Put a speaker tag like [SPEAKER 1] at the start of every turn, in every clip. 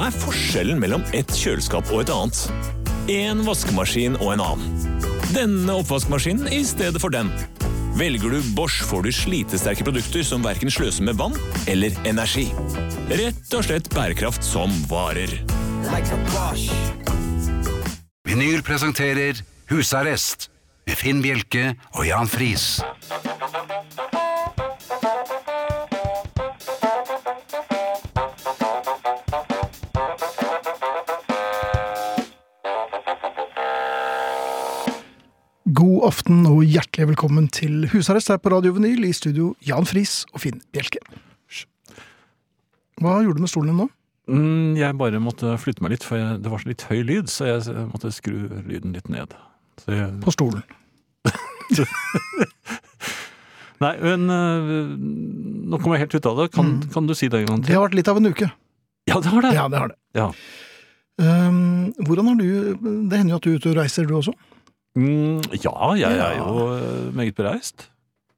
[SPEAKER 1] er forskjellen mellom et kjøleskap og et annet? En vaskemaskin og en annen. Denne oppvaskmaskinen i stedet for den. Velger du Bosch, får du slitesterke produkter som verken sløser med vann eller energi. Rett og slett bærekraft som varer.
[SPEAKER 2] Vinyl presenterer Husarrest med Finn Bjelke og Jan Friis.
[SPEAKER 3] God aften og hjertelig velkommen til husarrest her på Radio Vinyl i studio Jan Friis og Finn Bjelke. Hva gjorde du med stolen din nå?
[SPEAKER 4] Mm, jeg bare måtte flytte meg litt, for jeg, det var så litt høy lyd, så jeg s- måtte skru lyden litt ned. Så jeg,
[SPEAKER 3] På stolen.
[SPEAKER 4] nei, men øh, nå kom jeg helt ut av det. Kan, kan du si det en gang
[SPEAKER 3] Det
[SPEAKER 4] til?
[SPEAKER 3] har vært litt av en uke.
[SPEAKER 4] Ja, det har det!
[SPEAKER 3] Mm. Ja, det har det.
[SPEAKER 4] Ja.
[SPEAKER 3] Ehm, hvordan har du Det hender jo at du er ute og reiser, du også?
[SPEAKER 4] Mm, ja jeg er
[SPEAKER 3] Ja.
[SPEAKER 4] jo øh, meget bereist.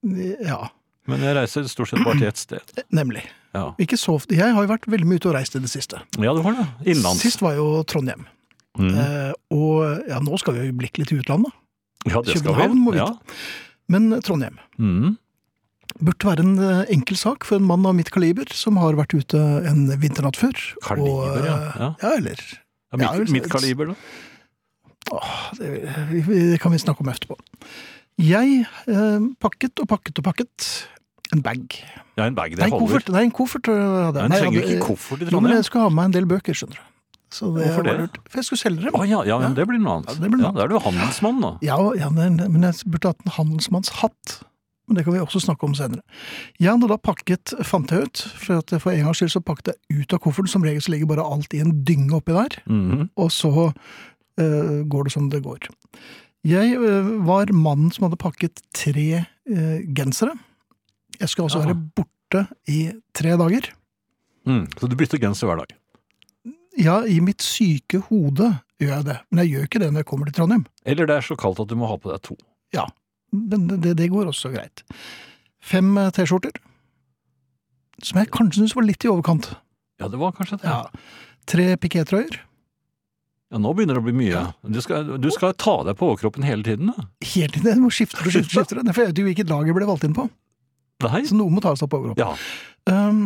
[SPEAKER 3] Ja,
[SPEAKER 4] Men jeg reiser stort sett bare til ett sted.
[SPEAKER 3] nemlig.
[SPEAKER 4] Ja,
[SPEAKER 3] Ikke så ofte. Jeg har jo vært veldig mye ute og reist i det siste.
[SPEAKER 4] ja det var det. Innlands.
[SPEAKER 3] Sist var jo Trondheim.
[SPEAKER 4] Mm.
[SPEAKER 3] Eh, og ja, nå skal vi øyeblikkelig til utlandet,
[SPEAKER 4] Ja, det skal vi.
[SPEAKER 3] København må vite.
[SPEAKER 4] Ja.
[SPEAKER 3] men Trondheim.
[SPEAKER 4] Mm.
[SPEAKER 3] burde være en eh, enkel sak for en mann av mitt kaliber, som har vært ute en vinternatt før.
[SPEAKER 4] Kaliber,
[SPEAKER 3] eh,
[SPEAKER 4] ja, ja.
[SPEAKER 3] Ja, eller
[SPEAKER 4] Ja,
[SPEAKER 3] Ja,
[SPEAKER 4] mitt,
[SPEAKER 3] vel,
[SPEAKER 4] mitt kaliber, da.
[SPEAKER 3] åh, det, vi- vi- det kan vi snakke om etterpå. Jeg eh, pakket og pakket og pakket en bag.
[SPEAKER 4] Ja, en bag,
[SPEAKER 3] Nei,
[SPEAKER 4] det
[SPEAKER 3] en
[SPEAKER 4] holder.
[SPEAKER 3] koffert. Nei, en koffert øh, hadde jeg.
[SPEAKER 4] Men
[SPEAKER 3] Nei, jeg
[SPEAKER 4] trenger jo
[SPEAKER 3] hadde-
[SPEAKER 4] ikke koffert i
[SPEAKER 3] Jo, men
[SPEAKER 4] Trondheim.
[SPEAKER 3] jeg skulle ha med meg en del bøker, skjønner du. Så det
[SPEAKER 4] Hvorfor
[SPEAKER 3] var
[SPEAKER 4] det?
[SPEAKER 3] lurt. For jeg skulle selge
[SPEAKER 4] Å
[SPEAKER 3] dem.
[SPEAKER 4] ja, ja, men det blir noe
[SPEAKER 3] Ja,
[SPEAKER 4] annet.
[SPEAKER 3] det blir noe
[SPEAKER 4] Ja, da er du handelsmann, da.
[SPEAKER 3] Ja, ja, men men jeg burde hatt en handelsmannshatt. Men det kan vi også snakke om senere. Jeg hadde da pakket, fant jeg ut, for at for en gangs skyld så pakket jeg ut av kofferten. Som regel så ligger bare alt i en dynge oppi der,
[SPEAKER 4] Mhm.
[SPEAKER 3] og så øh, går det som det går. Jeg øh, var mannen som hadde pakket tre øh, gensere. Jeg skulle altså
[SPEAKER 4] Ja.
[SPEAKER 3] være borte i tre dager.
[SPEAKER 4] Mm. Så du bytter genser hver dag.
[SPEAKER 3] Ja, i mitt syke hode gjør jeg det. Men jeg gjør ikke det når jeg kommer til Trondheim.
[SPEAKER 4] Eller det er så kaldt at du må ha på deg to.
[SPEAKER 3] Men det, det går også greit. Fem eh, T-skjorter. Som jeg kanskje syns var litt i overkant.
[SPEAKER 4] Ja, det var kanskje det.
[SPEAKER 3] Ja. Tre pikétrøyer.
[SPEAKER 4] Ja, nå begynner det å bli mye. Du skal, du skal ta deg på overkroppen hele tiden, da.
[SPEAKER 3] Helt inn i det. Skifter og skifter. skifter. Nei, For jeg vet jo hvilket lag jeg ble valgt inn på.
[SPEAKER 4] Nei?
[SPEAKER 3] Så noe må tas opp på overkroppen.
[SPEAKER 4] Ja.
[SPEAKER 3] Um,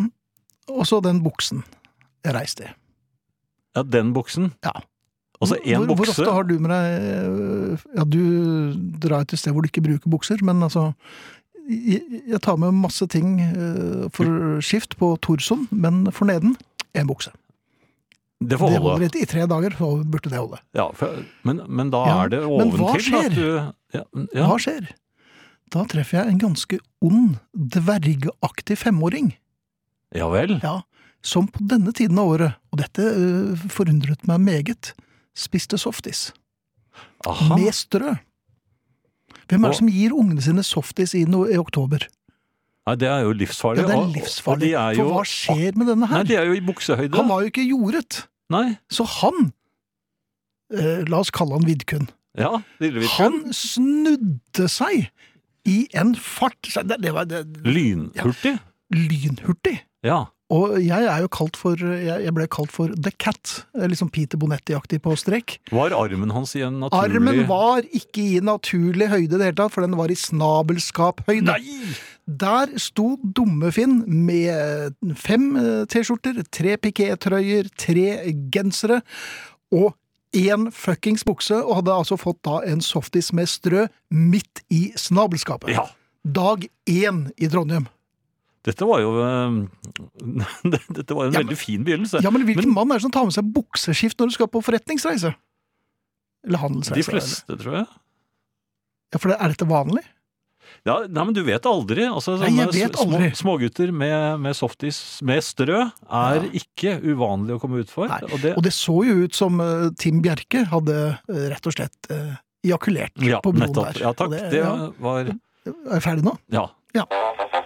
[SPEAKER 3] og så den buksen jeg reiste i.
[SPEAKER 4] ja, den buksen.
[SPEAKER 3] Ja.
[SPEAKER 4] Altså én
[SPEAKER 3] hvor, hvor
[SPEAKER 4] bukse.
[SPEAKER 3] ofte har du med deg øh, Ja, du drar til et sted hvor du ikke bruker bukser, men altså Jeg, jeg tar med masse ting øh, for skift på Torson, men for neden én bukse.
[SPEAKER 4] Det
[SPEAKER 3] Det
[SPEAKER 4] får
[SPEAKER 3] holder
[SPEAKER 4] holde.
[SPEAKER 3] i, i tre dager, så burde det holde.
[SPEAKER 4] Ja, for, men, men da
[SPEAKER 3] Ja,
[SPEAKER 4] er det
[SPEAKER 3] men hva
[SPEAKER 4] oventil
[SPEAKER 3] skjer?
[SPEAKER 4] at du ja, ja.
[SPEAKER 3] Hva skjer? Da treffer jeg en ganske ond, dvergeaktig femåring.
[SPEAKER 4] ja vel.
[SPEAKER 3] Ja, som på denne tiden av året, og dette øh, forundret meg meget, spiste softis.
[SPEAKER 4] Aha.
[SPEAKER 3] Med strø. Hvem er
[SPEAKER 4] Og-
[SPEAKER 3] det som gir ungene sine softis i, no i oktober?
[SPEAKER 4] Nei, det er jo
[SPEAKER 3] Ja,
[SPEAKER 4] livsfarlig.
[SPEAKER 3] det er
[SPEAKER 4] og-
[SPEAKER 3] livsfarlig.
[SPEAKER 4] Og, de er jo,
[SPEAKER 3] For hva skjer med denne
[SPEAKER 4] Nei,
[SPEAKER 3] her?
[SPEAKER 4] de er jo i buksehøyde.
[SPEAKER 3] Han var jo ikke jordet,
[SPEAKER 4] Nei.
[SPEAKER 3] så han eh, La oss kalle han Vidkun.
[SPEAKER 4] Ja, Lillevidkun.
[SPEAKER 3] Han snudde seg i en fart. Så Det, det var det,
[SPEAKER 4] Lynhurtig.
[SPEAKER 3] lynhurtig.
[SPEAKER 4] Ja.
[SPEAKER 3] Og jeg er jo kalt for Jeg, jeg ble kalt for The Cat. eh, Liksom Peter Bonetti-aktig på strek.
[SPEAKER 4] Var armen hans i en naturlig
[SPEAKER 3] Armen var ikke i naturlig høyde i det hele tatt, for den var i snabelskaphøyde.
[SPEAKER 4] Nei!
[SPEAKER 3] Der sto dumme Finn med fem eh, T-skjorter, tre pikétrøyer, tre gensere og én fuckings bukse, og hadde altså fått da en softis med strø midt i snabelskapet.
[SPEAKER 4] Ja.
[SPEAKER 3] Dag én i Trondheim.
[SPEAKER 4] Dette var jo eh, Dette var en
[SPEAKER 3] Ja, men-
[SPEAKER 4] veldig fin begynnelse.
[SPEAKER 3] Ja, men hvilken mann er det som tar med seg bukseskift når du skal på forretningsreise? Eller handelsreise?
[SPEAKER 4] De fleste, tror jeg.
[SPEAKER 3] Ja, for det, er dette vanlig?
[SPEAKER 4] Ja, nei, men du vet aldri. Altså,
[SPEAKER 3] Nei, jeg
[SPEAKER 4] sånne
[SPEAKER 3] vet
[SPEAKER 4] s- små-
[SPEAKER 3] aldri.
[SPEAKER 4] Smågutter med, med softis med strø er ikke uvanlig å komme ut for.
[SPEAKER 3] Nei,
[SPEAKER 4] Og det,
[SPEAKER 3] Og det så jo ut som eh, Tim Bjerke hadde eh, rett og slett uh, ejakulert
[SPEAKER 4] ja,
[SPEAKER 3] på broen
[SPEAKER 4] nettopp.
[SPEAKER 3] der.
[SPEAKER 4] Ja, takk.
[SPEAKER 3] Og
[SPEAKER 4] Det,
[SPEAKER 3] Det, ja.
[SPEAKER 4] var
[SPEAKER 3] Er jeg ferdig nå?
[SPEAKER 4] Ja.
[SPEAKER 3] Ja.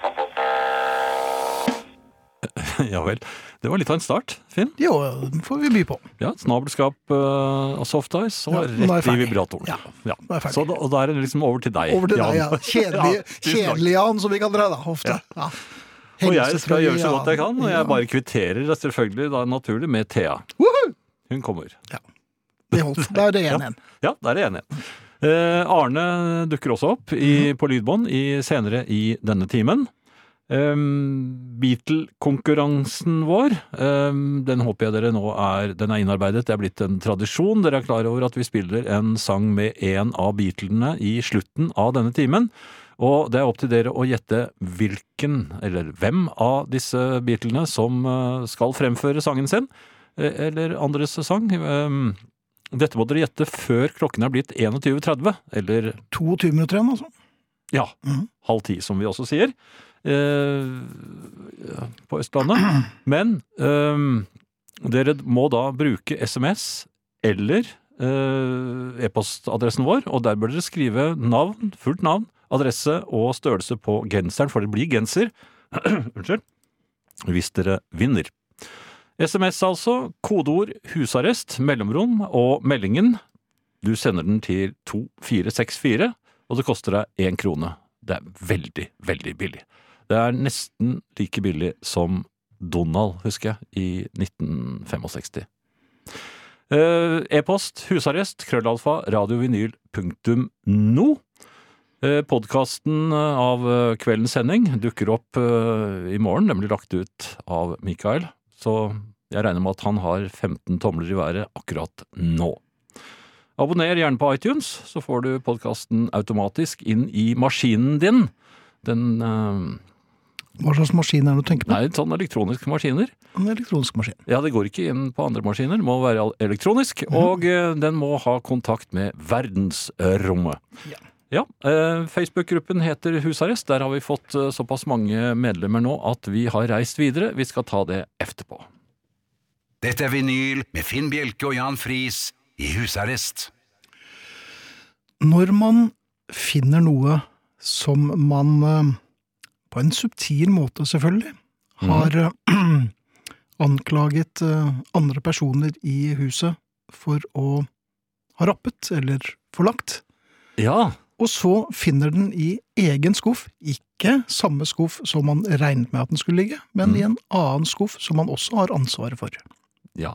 [SPEAKER 4] Ja vel. Det var litt av en start, Finn.
[SPEAKER 3] Jo, den får vi by på.
[SPEAKER 4] Ja, Snabelskap eh, og soft ice,
[SPEAKER 3] Ja,
[SPEAKER 4] og rett
[SPEAKER 3] nå er jeg
[SPEAKER 4] i
[SPEAKER 3] ferdig.
[SPEAKER 4] vibratoren.
[SPEAKER 3] Ja,
[SPEAKER 4] Ja.
[SPEAKER 3] nå er jeg ferdig.
[SPEAKER 4] Så da, og da er det liksom over til deg,
[SPEAKER 3] Over til
[SPEAKER 4] Jan.
[SPEAKER 3] deg, ja. Kjedelig,
[SPEAKER 4] Ja, tusen takk.
[SPEAKER 3] kjedelig Jan, som vi kan dra, da, ofte. Ja.
[SPEAKER 4] Og jeg skal gjøre så godt jeg kan, og
[SPEAKER 3] Ja.
[SPEAKER 4] jeg bare kvitterer selvfølgelig da naturlig med Thea.
[SPEAKER 3] Woohoo!
[SPEAKER 4] Hun kommer.
[SPEAKER 3] Det holdt. Da er det 1-1.
[SPEAKER 4] Ja, der er jeg enig. Eh, Arne dukker også opp i, på lydbånd i, senere i denne timen. Ehm, Beatle-konkurransen vår, ehm, den håper jeg dere nå er, den er innarbeidet. Det er blitt en tradisjon. Dere er klar over at vi spiller en sang med en av Beatlene i slutten av denne timen. Og det er opp til dere å gjette hvilken, eller hvem av disse Beatlene som eh, skal fremføre sangen sin, eh, eller andres sang. Ehm, dette må dere gjette før klokken er blitt 21.30, eller
[SPEAKER 3] 22 minutter igjen, altså.
[SPEAKER 4] ja,
[SPEAKER 3] Mhm.
[SPEAKER 4] halv ti, som vi også sier, eh, på Østlandet. Men ehm, dere må da bruke SMS eller eh, e-postadressen vår, og der bør dere skrive navn, fullt navn, adresse og størrelse på genseren, for det blir genser. Unnskyld. Hvis dere vinner. SMS altså, kodeord husarrest, mellomrom og meldingen. Du sender den til 2464, og det koster deg én krone. Det er veldig, veldig billig. Det er nesten like billig som Donald, husker jeg, i 1965. Eh, E-post husarrest krøllalfa radiovinyl.no. Eh, Podkasten av eh, kveldens sending dukker opp eh, i morgen, nemlig lagt ut av Mikael. Så jeg regner med at han har 15 tomler i været akkurat nå. Abonner gjerne på iTunes, så får du podkasten automatisk inn i maskinen din. Den eh,
[SPEAKER 3] Hva slags maskin er det du tenker på?
[SPEAKER 4] Nei, sånn elektroniske maskiner.
[SPEAKER 3] En elektronisk maskin.
[SPEAKER 4] Ja, det går ikke inn på andre maskiner. Det må være al- elektronisk.
[SPEAKER 3] Mhm.
[SPEAKER 4] Og eh, den må ha kontakt med verdensrommet.
[SPEAKER 3] Ja.
[SPEAKER 4] Ja, eh, Facebook-gruppen heter Husarrest. Der har vi fått eh, såpass mange medlemmer nå at vi har reist videre. Vi skal ta det etterpå.
[SPEAKER 2] Dette er vinyl med Finn Bjelke og Jan Friis i husarrest.
[SPEAKER 3] Når man finner noe som man, eh, på en subtil måte selvfølgelig, har eh, anklaget eh, andre personer i huset for å ha rappet eller forlagt,
[SPEAKER 4] Ja,
[SPEAKER 3] og så finner den i egen skuff, ikke samme skuff som man regnet med at den skulle ligge, men
[SPEAKER 4] Mm.
[SPEAKER 3] i en annen skuff som man også har ansvaret for.
[SPEAKER 4] ja.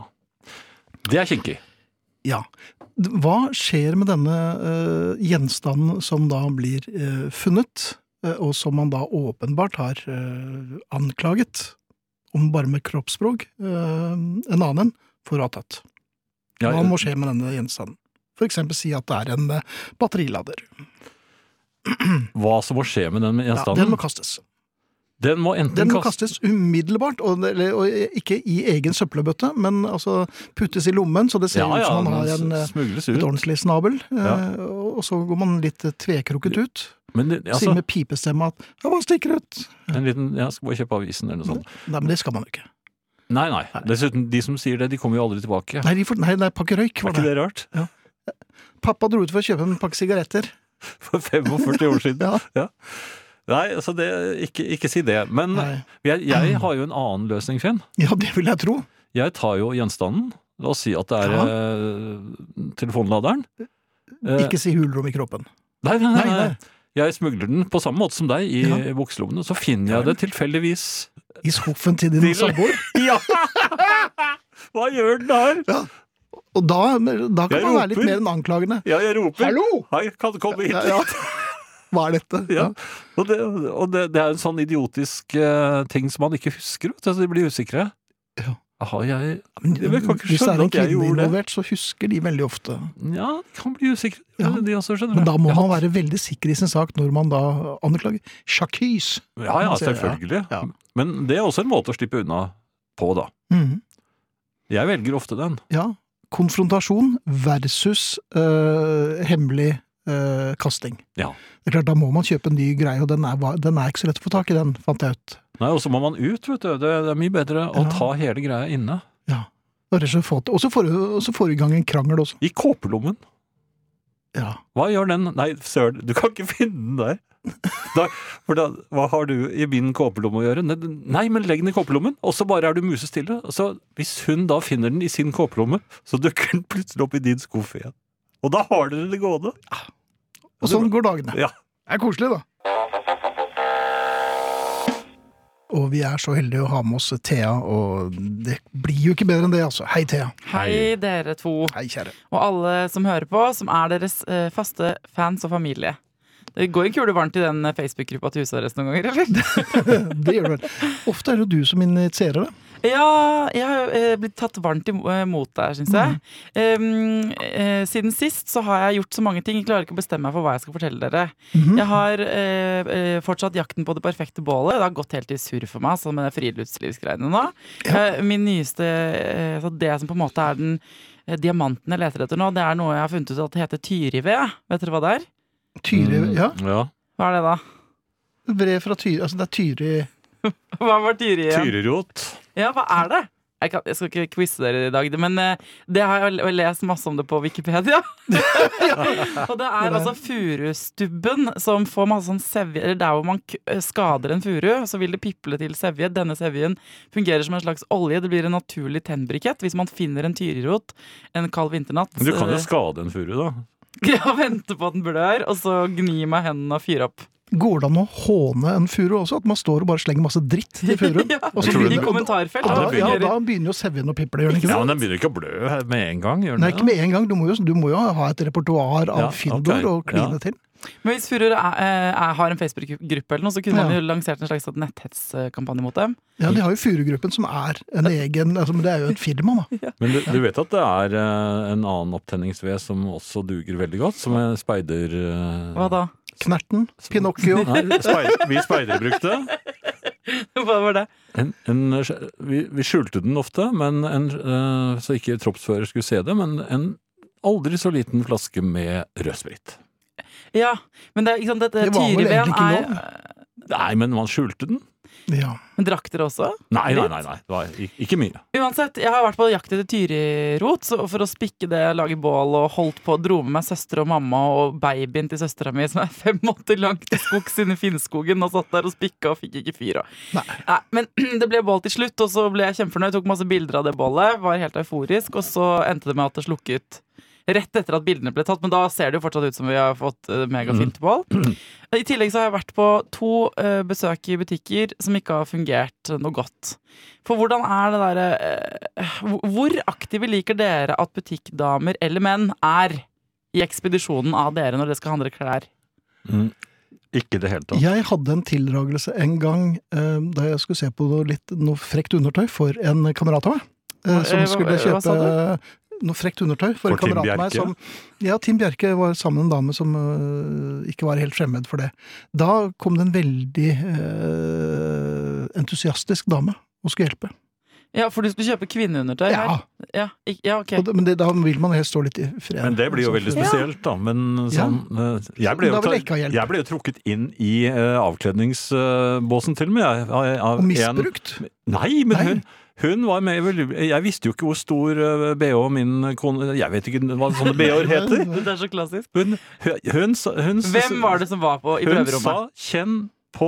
[SPEAKER 4] Det er kinkig.
[SPEAKER 3] Ja. Hva skjer med denne eh, gjenstanden som da blir eh, funnet, eh, og som man da åpenbart har eh, anklaget, om bare med kroppsspråk, eh, en annen enn, for å ha tatt?
[SPEAKER 4] Ja, eh,
[SPEAKER 3] Hva må skje med denne gjenstanden? For eksempel si at det er en eh, batterilader.
[SPEAKER 4] hva som må skje med den
[SPEAKER 3] Ja, den
[SPEAKER 4] gjenstanden?
[SPEAKER 3] må kastes.
[SPEAKER 4] den må enten
[SPEAKER 3] Den må
[SPEAKER 4] kastes
[SPEAKER 3] kastes umiddelbart, og, eller, og ikke i egen søppelbøtte, men altså puttes i lommen, så det ser ut som man har
[SPEAKER 4] den
[SPEAKER 3] en, eh,
[SPEAKER 4] smugles
[SPEAKER 3] et
[SPEAKER 4] ut.
[SPEAKER 3] ordentlig snabel, eh,
[SPEAKER 4] Ja.
[SPEAKER 3] og og så går man litt eh, tvekrukket ut.
[SPEAKER 4] Men det,
[SPEAKER 3] Sier
[SPEAKER 4] altså,
[SPEAKER 3] med pipestemme at «Jeg bare stikker ut!»
[SPEAKER 4] en liten, jeg skal bare kjøpe avisen eller noe sånt.
[SPEAKER 3] Nei, men det skal man jo ikke.
[SPEAKER 4] Nei, nei. Dessuten, de som sier det, de kommer jo aldri tilbake.
[SPEAKER 3] Nei, de får, nei, nei pakke røyk
[SPEAKER 4] Er
[SPEAKER 3] var
[SPEAKER 4] ikke
[SPEAKER 3] det.
[SPEAKER 4] det rart?
[SPEAKER 3] Pappa dro ut for å kjøpe en pakke sigaretter.
[SPEAKER 4] For 45 år siden.
[SPEAKER 3] Ja.
[SPEAKER 4] Nei, altså det, ikke, ikke si det. Men
[SPEAKER 3] Nei.
[SPEAKER 4] jeg, jeg har jo en annen løsning, Finn.
[SPEAKER 3] Ja, det vil jeg tro.
[SPEAKER 4] Jeg tar jo gjenstanden. La oss si at det er
[SPEAKER 3] Ja.
[SPEAKER 4] eh, telefonladeren. Eh,
[SPEAKER 3] Ikke si hulrom i kroppen.
[SPEAKER 4] nei, nei, nei,
[SPEAKER 3] Nei, nei.
[SPEAKER 4] nei. Jeg smugler den på samme måte som deg i
[SPEAKER 3] Ja.
[SPEAKER 4] bukselommene. Så finner jeg det tilfeldigvis.
[SPEAKER 3] I skuffen til din
[SPEAKER 4] Til-
[SPEAKER 3] samboer.
[SPEAKER 4] Ja! Hva gjør den her?
[SPEAKER 3] Og da, da kan
[SPEAKER 4] Jeg
[SPEAKER 3] man være litt
[SPEAKER 4] roper.
[SPEAKER 3] mer enn anklagende.
[SPEAKER 4] Ja, jeg roper.
[SPEAKER 3] Hallo!
[SPEAKER 4] Hei, kan du komme hit?
[SPEAKER 3] Ja, ja. Hva er dette?
[SPEAKER 4] Ja. Og, det, og det, det er en sånn idiotisk eh, ting som man ikke husker, vet du. Så de blir usikre.
[SPEAKER 3] Ja.
[SPEAKER 4] Har jeg
[SPEAKER 3] Men
[SPEAKER 4] Jeg kan ikke
[SPEAKER 3] Hvis det
[SPEAKER 4] skjønne
[SPEAKER 3] er en
[SPEAKER 4] at jeg
[SPEAKER 3] kvinne
[SPEAKER 4] gjorde det.
[SPEAKER 3] involvert, så husker de veldig ofte.
[SPEAKER 4] Ja, de kan bli usikre,
[SPEAKER 3] Ja.
[SPEAKER 4] de også, skjønner du.
[SPEAKER 3] Men da må
[SPEAKER 4] Jeg
[SPEAKER 3] man
[SPEAKER 4] har-
[SPEAKER 3] være veldig sikker i sin sak når man da anklager. Sjakkys!
[SPEAKER 4] Ja, ja,
[SPEAKER 3] sier jeg.
[SPEAKER 4] selvfølgelig.
[SPEAKER 3] Ja.
[SPEAKER 4] Men det er også en måte å slippe unna på, da.
[SPEAKER 3] Mhm.
[SPEAKER 4] Jeg velger ofte den.
[SPEAKER 3] Ja. Konfrontasjon versus øh, hemmelig øh, kasting.
[SPEAKER 4] Ja.
[SPEAKER 3] Det er klart, Da må man kjøpe en ny greie, og den er, va- den er ikke så lett å få tak i, den, fant jeg ut.
[SPEAKER 4] Nei, og så må man ut, vet du. Det, det er mye bedre å
[SPEAKER 3] Ja.
[SPEAKER 4] ta hele greia inne.
[SPEAKER 3] Ja. Og rett og slett få til- og så får du- og så får du i gang en krangel også.
[SPEAKER 4] I kåpelommen.
[SPEAKER 3] Ja.
[SPEAKER 4] Hva gjør den? Nei, søren, du kan ikke finne den der. Da, for da, hva har du i min kåpelomme å gjøre? Nei, den- Nei, men legg den i kåpelommen, og så bare er du musestille. Og Så hvis hun da finner den i sin kåpelomme, så dukker den plutselig opp i din skuff igjen. Og da har dere det gående.
[SPEAKER 3] Og sånn går dagene.
[SPEAKER 4] Ja.
[SPEAKER 3] Det er koselig, da. Og vi er så heldige å ha med oss Thea, og det blir jo ikke bedre enn det, altså. Hei, Thea.
[SPEAKER 4] Hei.
[SPEAKER 5] Hei, dere to.
[SPEAKER 3] Hei, kjære.
[SPEAKER 5] Og alle som hører på, som er deres eh, faste fans og familie. Det går en kule varmt i den eh, Facebook-gruppa til husarrest noen ganger, eller?
[SPEAKER 3] Det gjør du vel. Ofte er det jo du som initierer det.
[SPEAKER 5] Ja, jeg har eh, blitt tatt varmt imo- eh, imot der, syns jeg. Em, eh, siden sist så har jeg gjort så mange ting. Jeg klarer ikke å bestemme meg for hva jeg skal fortelle dere. Jeg har eh, eh, fortsatt jakten på det perfekte bålet. Det har gått helt i surr for meg, sånn med de friluftslivsgreiene nå. Eh, min nyeste eh, så Det som på en måte er den eh, diamanten jeg leter etter nå, det er noe jeg har funnet ut at det heter tyrived. Vet dere hva det er?
[SPEAKER 3] Tyri,
[SPEAKER 4] Mm,
[SPEAKER 3] ja.
[SPEAKER 4] ja.
[SPEAKER 5] Hva er det da?
[SPEAKER 3] Brev fra Tyri. Altså, det er Tyri
[SPEAKER 5] Hva var tyri igjen?
[SPEAKER 4] Tyrirot.
[SPEAKER 5] Ja, hva er det? Jeg, kan, jeg skal ikke quize dere i dag, men eh, det har jeg l- lest masse om det på Wikipedia. og det er altså furustubben som får masse sånn sevje Eller der hvor man k eh, skader en furu, så vil det piple til sevje. Denne sevjen fungerer som en slags olje. Det blir en naturlig tennbrikett hvis man finner en tyrirot en kald vinternatt.
[SPEAKER 4] Men du kan jo
[SPEAKER 5] eh,
[SPEAKER 4] skade en furu, da.
[SPEAKER 5] og vente på at den blør, og så gni meg hendene og fyre opp.
[SPEAKER 3] Går det an å håne en furu også? At man står og bare slenger masse dritt til furuen?
[SPEAKER 5] Ja,
[SPEAKER 3] Og så
[SPEAKER 4] tror du
[SPEAKER 5] I
[SPEAKER 4] det?
[SPEAKER 5] kommentarfeltet.
[SPEAKER 3] Da,
[SPEAKER 4] Ja,
[SPEAKER 5] og
[SPEAKER 4] det
[SPEAKER 3] ja,
[SPEAKER 5] fungerer.
[SPEAKER 3] da begynner jo sevjen å piple, gjør den ikke
[SPEAKER 4] Ja,
[SPEAKER 3] det?
[SPEAKER 4] men Den begynner ikke å blø med en gang? gjør den
[SPEAKER 3] Nei,
[SPEAKER 4] det?
[SPEAKER 3] ikke med en gang. Du må jo, du må jo ha et repertoar av
[SPEAKER 4] Ja,
[SPEAKER 3] fyndord
[SPEAKER 4] ok.
[SPEAKER 3] å kline
[SPEAKER 4] Ja.
[SPEAKER 3] til.
[SPEAKER 5] Men hvis Furor er, eh, er, har en Facebook-gruppe, eller noe, så kunne man
[SPEAKER 3] Ja.
[SPEAKER 5] jo lansert en slags sånn netthetskampanje mot dem.
[SPEAKER 3] Ja, De har jo Furugruppen, som er en egen altså, men Det er jo et firma, da.
[SPEAKER 4] Men du, du vet at det er eh, en annen opptenningsved som også duger veldig godt, som er speider... eh,
[SPEAKER 5] Hva da?
[SPEAKER 3] Knerten, Pinocchio
[SPEAKER 4] Nei, speid- vi speidere brukte.
[SPEAKER 5] Hva var det?
[SPEAKER 4] En, en, vi, vi skjulte den ofte, men en, eh, så ikke troppsfører skulle se det, men en aldri så liten flaske med rødsprit.
[SPEAKER 5] Ja, men det, er- ikke sant, dette
[SPEAKER 3] Det var vel
[SPEAKER 5] tyriveden
[SPEAKER 3] egentlig ikke
[SPEAKER 5] er
[SPEAKER 4] Nei, men man skjulte den.
[SPEAKER 3] Ja.
[SPEAKER 5] Men drakk dere også?
[SPEAKER 4] Nei, nei, nei, nei. Det var ik- ikke mye.
[SPEAKER 5] Uansett, jeg har vært på jakt etter tyrirot så for å spikke det, lage bål og holdt på å dro med meg søster og mamma og babyen til søstera mi som er fem måneder lang til skogs inne i Finnskogen og satt der og spikka og fikk ikke fyr. Og.
[SPEAKER 3] Nei.
[SPEAKER 5] Nei, men det ble bål til slutt, og så ble jeg kjempefornøyd. Tok masse bilder av det bålet, var helt euforisk, og så endte det med at det slukket. Rett etter at bildene ble tatt, men da ser det jo fortsatt ut som vi har fått eh, megafint bål. I tillegg så har jeg vært på to eh, besøk i butikker som ikke har fungert noe godt. For hvordan er det derre eh, hvor- Hvor aktive liker dere at butikkdamer eller menn er i ekspedisjonen av dere når dere skal handle klær?
[SPEAKER 4] Ikke i det hele tatt.
[SPEAKER 3] Jeg hadde en tildragelse en gang eh, da jeg skulle se på noe, litt, noe frekt undertøy for en kamerat av meg. eh,
[SPEAKER 5] Hva-
[SPEAKER 3] som
[SPEAKER 5] eh, hva-
[SPEAKER 3] skulle
[SPEAKER 5] hva
[SPEAKER 3] kjøpe
[SPEAKER 5] sa
[SPEAKER 3] noe frekt undertøy for,
[SPEAKER 4] For
[SPEAKER 3] en kamerat
[SPEAKER 4] Tim
[SPEAKER 3] av meg.
[SPEAKER 4] Bjerke?
[SPEAKER 3] Som, ja, Tim Bjerke var sammen med en dame som eh, ikke var helt fremmed for det. Da kom det en veldig eh, entusiastisk dame og skulle hjelpe.
[SPEAKER 5] Ja, for du skulle kjøpe kvinneundertøy
[SPEAKER 3] Ja,
[SPEAKER 5] her? Ja, ik- ja ok.
[SPEAKER 3] og det, men det, da vil man helst stå litt i fred.
[SPEAKER 4] Men det blir jo
[SPEAKER 3] Altså,
[SPEAKER 4] veldig
[SPEAKER 3] for-
[SPEAKER 4] spesielt, da. Men sånn eh, Jeg ble
[SPEAKER 3] Da
[SPEAKER 4] jo,
[SPEAKER 3] vil
[SPEAKER 4] ta-
[SPEAKER 3] jeg ikke ha hjelp.
[SPEAKER 4] jeg ble jo trukket inn i eh, avkledningsbåsen til og med, jeg. av- av
[SPEAKER 3] Og
[SPEAKER 4] en-
[SPEAKER 3] misbrukt.
[SPEAKER 4] Nei, men
[SPEAKER 3] Nei.
[SPEAKER 4] Hun, hun var med i vel- Jeg visste jo ikke hvor stor eh, BH min kone Jeg vet ikke hva sånne BH-er heter.
[SPEAKER 5] Det er så klassisk.
[SPEAKER 4] Hun, hun, hun, sa- hun,
[SPEAKER 5] Hvem var det som var på i
[SPEAKER 4] Hun sa
[SPEAKER 5] prøverommet?
[SPEAKER 4] 'kjenn på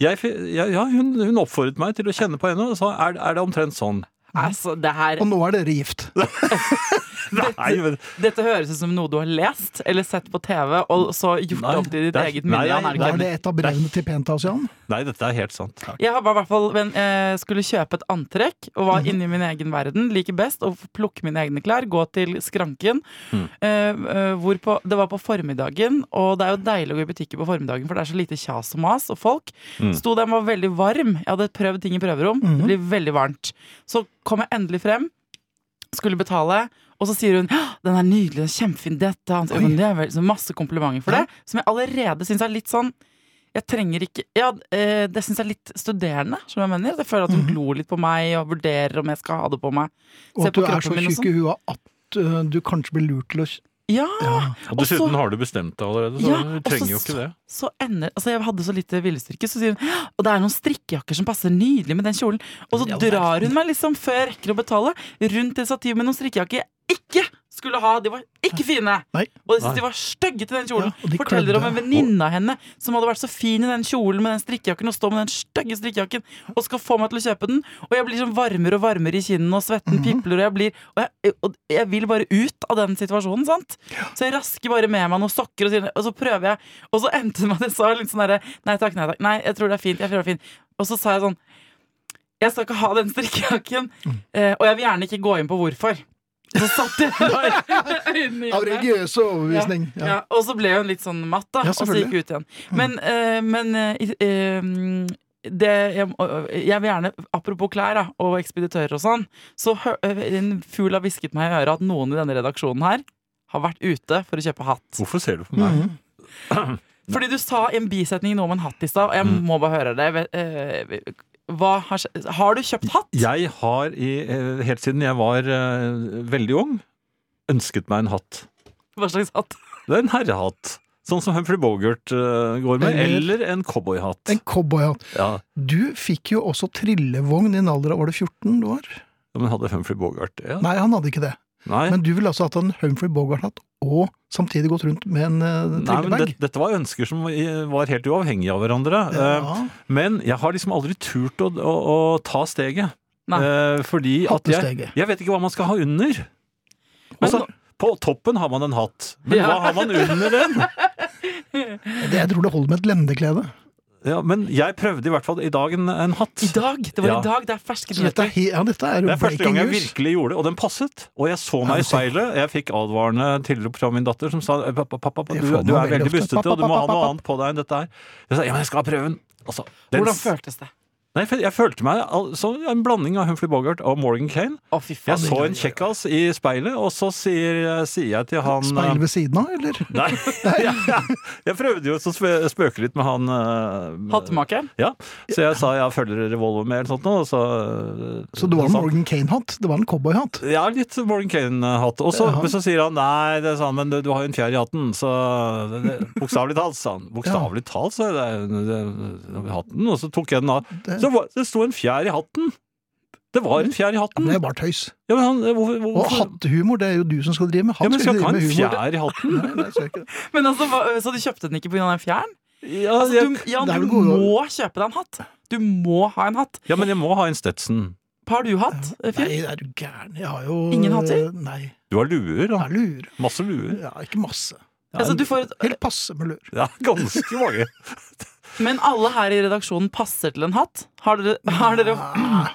[SPEAKER 4] jeg, fi- ja, ja, hun, hun oppfordret meg til å kjenne på henne og sa er, er det omtrent sånn?
[SPEAKER 5] Altså, det her,
[SPEAKER 3] Og nå er dere gift.
[SPEAKER 4] Nei, men,
[SPEAKER 5] dette høres ut som noe du har lest eller sett på TV, og så gjort
[SPEAKER 4] Nei,
[SPEAKER 5] opp til ditt
[SPEAKER 4] det er-
[SPEAKER 5] eget
[SPEAKER 4] nei,
[SPEAKER 5] minne. Ja,
[SPEAKER 4] nei,
[SPEAKER 5] er det
[SPEAKER 4] nei,
[SPEAKER 5] ikke?
[SPEAKER 3] Er det et av brevene til Pentasian?
[SPEAKER 4] nei, dette er helt sant.
[SPEAKER 5] Jeg har bare, i hvert fall, men, eh, skulle kjøpe et antrekk og var inne i min egen verden. Liker best å få plukke mine egne klær, gå til skranken. Eh, eh, hvorpå, det var på formiddagen, og det er jo deilig å gå i butikker på formiddagen, for det er så lite kjas og mas og folk.
[SPEAKER 3] Mm.
[SPEAKER 5] Sto der, den var veldig varm. Jeg hadde prøvd ting i prøverom.
[SPEAKER 3] Mhm.
[SPEAKER 5] Det blir veldig varmt. Så kom jeg endelig frem, skulle betale. Og så sier hun «Hå, 'den er nydelig, den er kjempefin', dette han sier,
[SPEAKER 3] Oi.
[SPEAKER 5] men Det er vel så masse komplimenter for det, som jeg allerede syns er litt sånn jeg trenger ikke ja, eh, Det syns jeg er litt studerende. Som jeg mener Jeg føler at hun glor litt på meg og vurderer om jeg skal ha det på meg.
[SPEAKER 3] Mhm. Og
[SPEAKER 5] Se
[SPEAKER 3] at du
[SPEAKER 5] på
[SPEAKER 3] er så
[SPEAKER 5] kroppen min og sånn.
[SPEAKER 3] tjukk i huet at øh, du kanskje blir lurt til å
[SPEAKER 5] Ja!
[SPEAKER 4] Og
[SPEAKER 5] Og så-
[SPEAKER 4] dessuten har du bestemt deg allerede, så
[SPEAKER 5] Ja,
[SPEAKER 4] du
[SPEAKER 5] og så-
[SPEAKER 4] trenger jo ikke det.
[SPEAKER 5] Så ender Altså, jeg hadde så lite viljestyrke, så sier hun «Hå, Og det er noen strikkejakker som passer nydelig med den kjolen. Og så
[SPEAKER 3] Ja, vel.
[SPEAKER 5] drar hun meg, liksom, før jeg rekker å betale, rundt et stativ med noen strikkejakker jeg ikke skulle ha. De var ikke fine!
[SPEAKER 3] Nei.
[SPEAKER 5] Og jeg
[SPEAKER 4] Nei.
[SPEAKER 5] synes de var stygge til den kjolen.
[SPEAKER 3] Ja, og de
[SPEAKER 5] Forteller om
[SPEAKER 3] klødde.
[SPEAKER 5] en venninne av henne som hadde vært så fin i den kjolen med den strikkejakken og står med den stygge strikkejakken og skal få meg til å kjøpe den. Og jeg blir sånn varmere og varmere i kinnene, og svetten
[SPEAKER 3] Mhm.
[SPEAKER 5] pipler, og jeg blir og jeg, og jeg vil bare ut av den situasjonen, sant? Så jeg rasker bare med meg noen sokker, og, sier- og så prøver jeg. Og så endte det med at jeg sa litt sånn derre Nei takk, nei takk. Nei, jeg tror det er fint. Jeg tror det er fint. Og så sa jeg sånn Jeg skal ikke ha den strikkejakken,
[SPEAKER 3] Mm.
[SPEAKER 5] eh, og jeg vil gjerne ikke gå inn på hvorfor. Så satt jeg der øynene i
[SPEAKER 3] Av
[SPEAKER 5] øynene.
[SPEAKER 3] religiøs overbevisning.
[SPEAKER 5] Ja.
[SPEAKER 3] Ja.
[SPEAKER 5] og så ble hun litt sånn matt, da.
[SPEAKER 3] Ja,
[SPEAKER 5] og så gikk hun ut igjen. Men,
[SPEAKER 4] Mm.
[SPEAKER 5] eh, men eh, i- eh, det, jeg, må- eh, jeg vil gjerne, apropos klær da, og ekspeditører og sånn, så hø, eh, en fugl har hvisket meg i øret at noen i denne redaksjonen her har vært ute for å kjøpe hatt.
[SPEAKER 4] Hvorfor ser du på meg?
[SPEAKER 5] Fordi du sa i en bisetning noe om en hatt i stad, og jeg
[SPEAKER 4] Mm.
[SPEAKER 5] må bare høre det. Vet- eh, Hva har, skje- har du kjøpt hatt?
[SPEAKER 4] Jeg har i, eh, helt siden jeg var eh, veldig ung, ønsket meg en hatt.
[SPEAKER 5] Hva slags hatt?
[SPEAKER 4] Det er en herrehatt. Sånn som Humphrey Bogart eh, går med.
[SPEAKER 3] Eller-
[SPEAKER 4] Eller en cowboyhatt.
[SPEAKER 3] En cowboyhatt.
[SPEAKER 4] Ja,
[SPEAKER 3] Du fikk jo også trillevogn i en alder av Var det 14 du var?
[SPEAKER 4] men hadde Humphrey Bogart det?
[SPEAKER 3] Nei, han hadde ikke det.
[SPEAKER 4] Nei.
[SPEAKER 3] Men du ville altså hatt en Humphrey Bogart-hatt og samtidig gått rundt med en uh,
[SPEAKER 4] Nei, men
[SPEAKER 3] trillebag?
[SPEAKER 4] det, dette var ønsker som i- var helt uavhengige av hverandre. Eh,
[SPEAKER 3] Ja,
[SPEAKER 4] Men jeg har liksom aldri turt å, å, å ta steget.
[SPEAKER 5] Nei.
[SPEAKER 4] Eh, Fordi at jeg,
[SPEAKER 3] Hattesteget.
[SPEAKER 4] jeg vet ikke hva man skal ha under.
[SPEAKER 5] Men
[SPEAKER 4] Altså,
[SPEAKER 5] nå-
[SPEAKER 4] på toppen har man en hatt, men
[SPEAKER 5] Ja.
[SPEAKER 4] hva har man under den?
[SPEAKER 3] Det- Jeg tror det holder med et lendeklede.
[SPEAKER 4] Ja, men jeg prøvde i hvert fall i dag en, en hatt.
[SPEAKER 5] I dag! Det var
[SPEAKER 4] Ja.
[SPEAKER 5] i dag. Det er ferske
[SPEAKER 3] Så dette er,
[SPEAKER 5] nyheter.
[SPEAKER 3] he- ja, dette er jo
[SPEAKER 4] Det er første
[SPEAKER 3] breaking
[SPEAKER 4] gang jeg
[SPEAKER 3] news.
[SPEAKER 4] virkelig gjorde det, og den passet. Og jeg så
[SPEAKER 3] Ja,
[SPEAKER 4] meg i
[SPEAKER 3] du ser.
[SPEAKER 4] speilet. Jeg fikk advarende tidligere fra min datter som sa "Eh, pappa, pappa,
[SPEAKER 3] Det
[SPEAKER 4] du,
[SPEAKER 3] får man
[SPEAKER 4] du er
[SPEAKER 3] veldig
[SPEAKER 4] veldig
[SPEAKER 3] ofte.
[SPEAKER 4] bustete, og du må ha
[SPEAKER 3] Pappa, pappa,
[SPEAKER 4] noe annet på deg enn dette her. Jeg sa ja, men jeg skal ha prøven. Altså, den
[SPEAKER 5] Hvordan
[SPEAKER 4] s-
[SPEAKER 5] føltes det?
[SPEAKER 4] Nei, for jeg følte meg al- som en blanding av Humphrey Bogart og Morgan Kane.
[SPEAKER 5] Å, fy faen.
[SPEAKER 4] Jeg så en kjekkas i speilet, og så sier, eh, sier jeg til han
[SPEAKER 3] Speil ved siden av, eller?
[SPEAKER 4] Nei. jeg, jeg prøvde jo å spe- spøke litt med han eh,
[SPEAKER 5] Hattemaker?
[SPEAKER 4] Ja, Så jeg sa jeg følger revolver med, eller sånt noe, og så
[SPEAKER 3] Så det var en
[SPEAKER 4] sa han,
[SPEAKER 3] Morgan Kane-hatt? Det var en cowboyhatt?
[SPEAKER 4] Ja, litt Morgan Kane-hatt. Og så,
[SPEAKER 3] Ja.
[SPEAKER 4] men så sier han nei, det er sånn, men du, du har jo en fjær i hatten, så det- det- Bokstavelig talt, sa han. Bokstavelig talt, så er det, det, det, hatten. Og så tok jeg den av.
[SPEAKER 3] Det-
[SPEAKER 4] Så var, det sto en fjær i hatten! Det var en fjær i hatten!
[SPEAKER 3] Det er bare tøys.
[SPEAKER 4] Ja, men han, eh, hvorfor,
[SPEAKER 3] Og
[SPEAKER 4] hvorfor?
[SPEAKER 3] hattehumor, det er jo du som skal drive med.
[SPEAKER 4] Ja,
[SPEAKER 3] Han
[SPEAKER 4] men skal
[SPEAKER 3] skal
[SPEAKER 4] ikke
[SPEAKER 3] ikke
[SPEAKER 4] ha
[SPEAKER 3] drive
[SPEAKER 4] en
[SPEAKER 3] med humor.
[SPEAKER 4] fjær i hatten?
[SPEAKER 3] Nei, nei, skal ikke det.
[SPEAKER 5] Men altså, hva- Så du kjøpte den ikke pga. den fjæren?
[SPEAKER 4] Ja,
[SPEAKER 5] Altså,
[SPEAKER 4] jeg,
[SPEAKER 5] du, Jan,
[SPEAKER 3] det er vel
[SPEAKER 5] du
[SPEAKER 3] gode
[SPEAKER 5] må kjøpe deg en hatt. Du må ha en hatt.
[SPEAKER 4] ja, men jeg må ha en Stetson.
[SPEAKER 5] Har du hatt, øh, Fyr?
[SPEAKER 3] Nei, er du gæren? Jeg har jo
[SPEAKER 5] Ingen hatter?
[SPEAKER 3] Nei.
[SPEAKER 4] Du har luer, da.
[SPEAKER 3] Jeg lurer.
[SPEAKER 4] Masse luer.
[SPEAKER 3] Ja, ikke masse.
[SPEAKER 5] Altså, du får et,
[SPEAKER 3] Helt passe med lur.
[SPEAKER 4] Ja, ganske mange.
[SPEAKER 5] men alle her i redaksjonen passer til en hatt. Har dere, har dere,
[SPEAKER 3] Ah.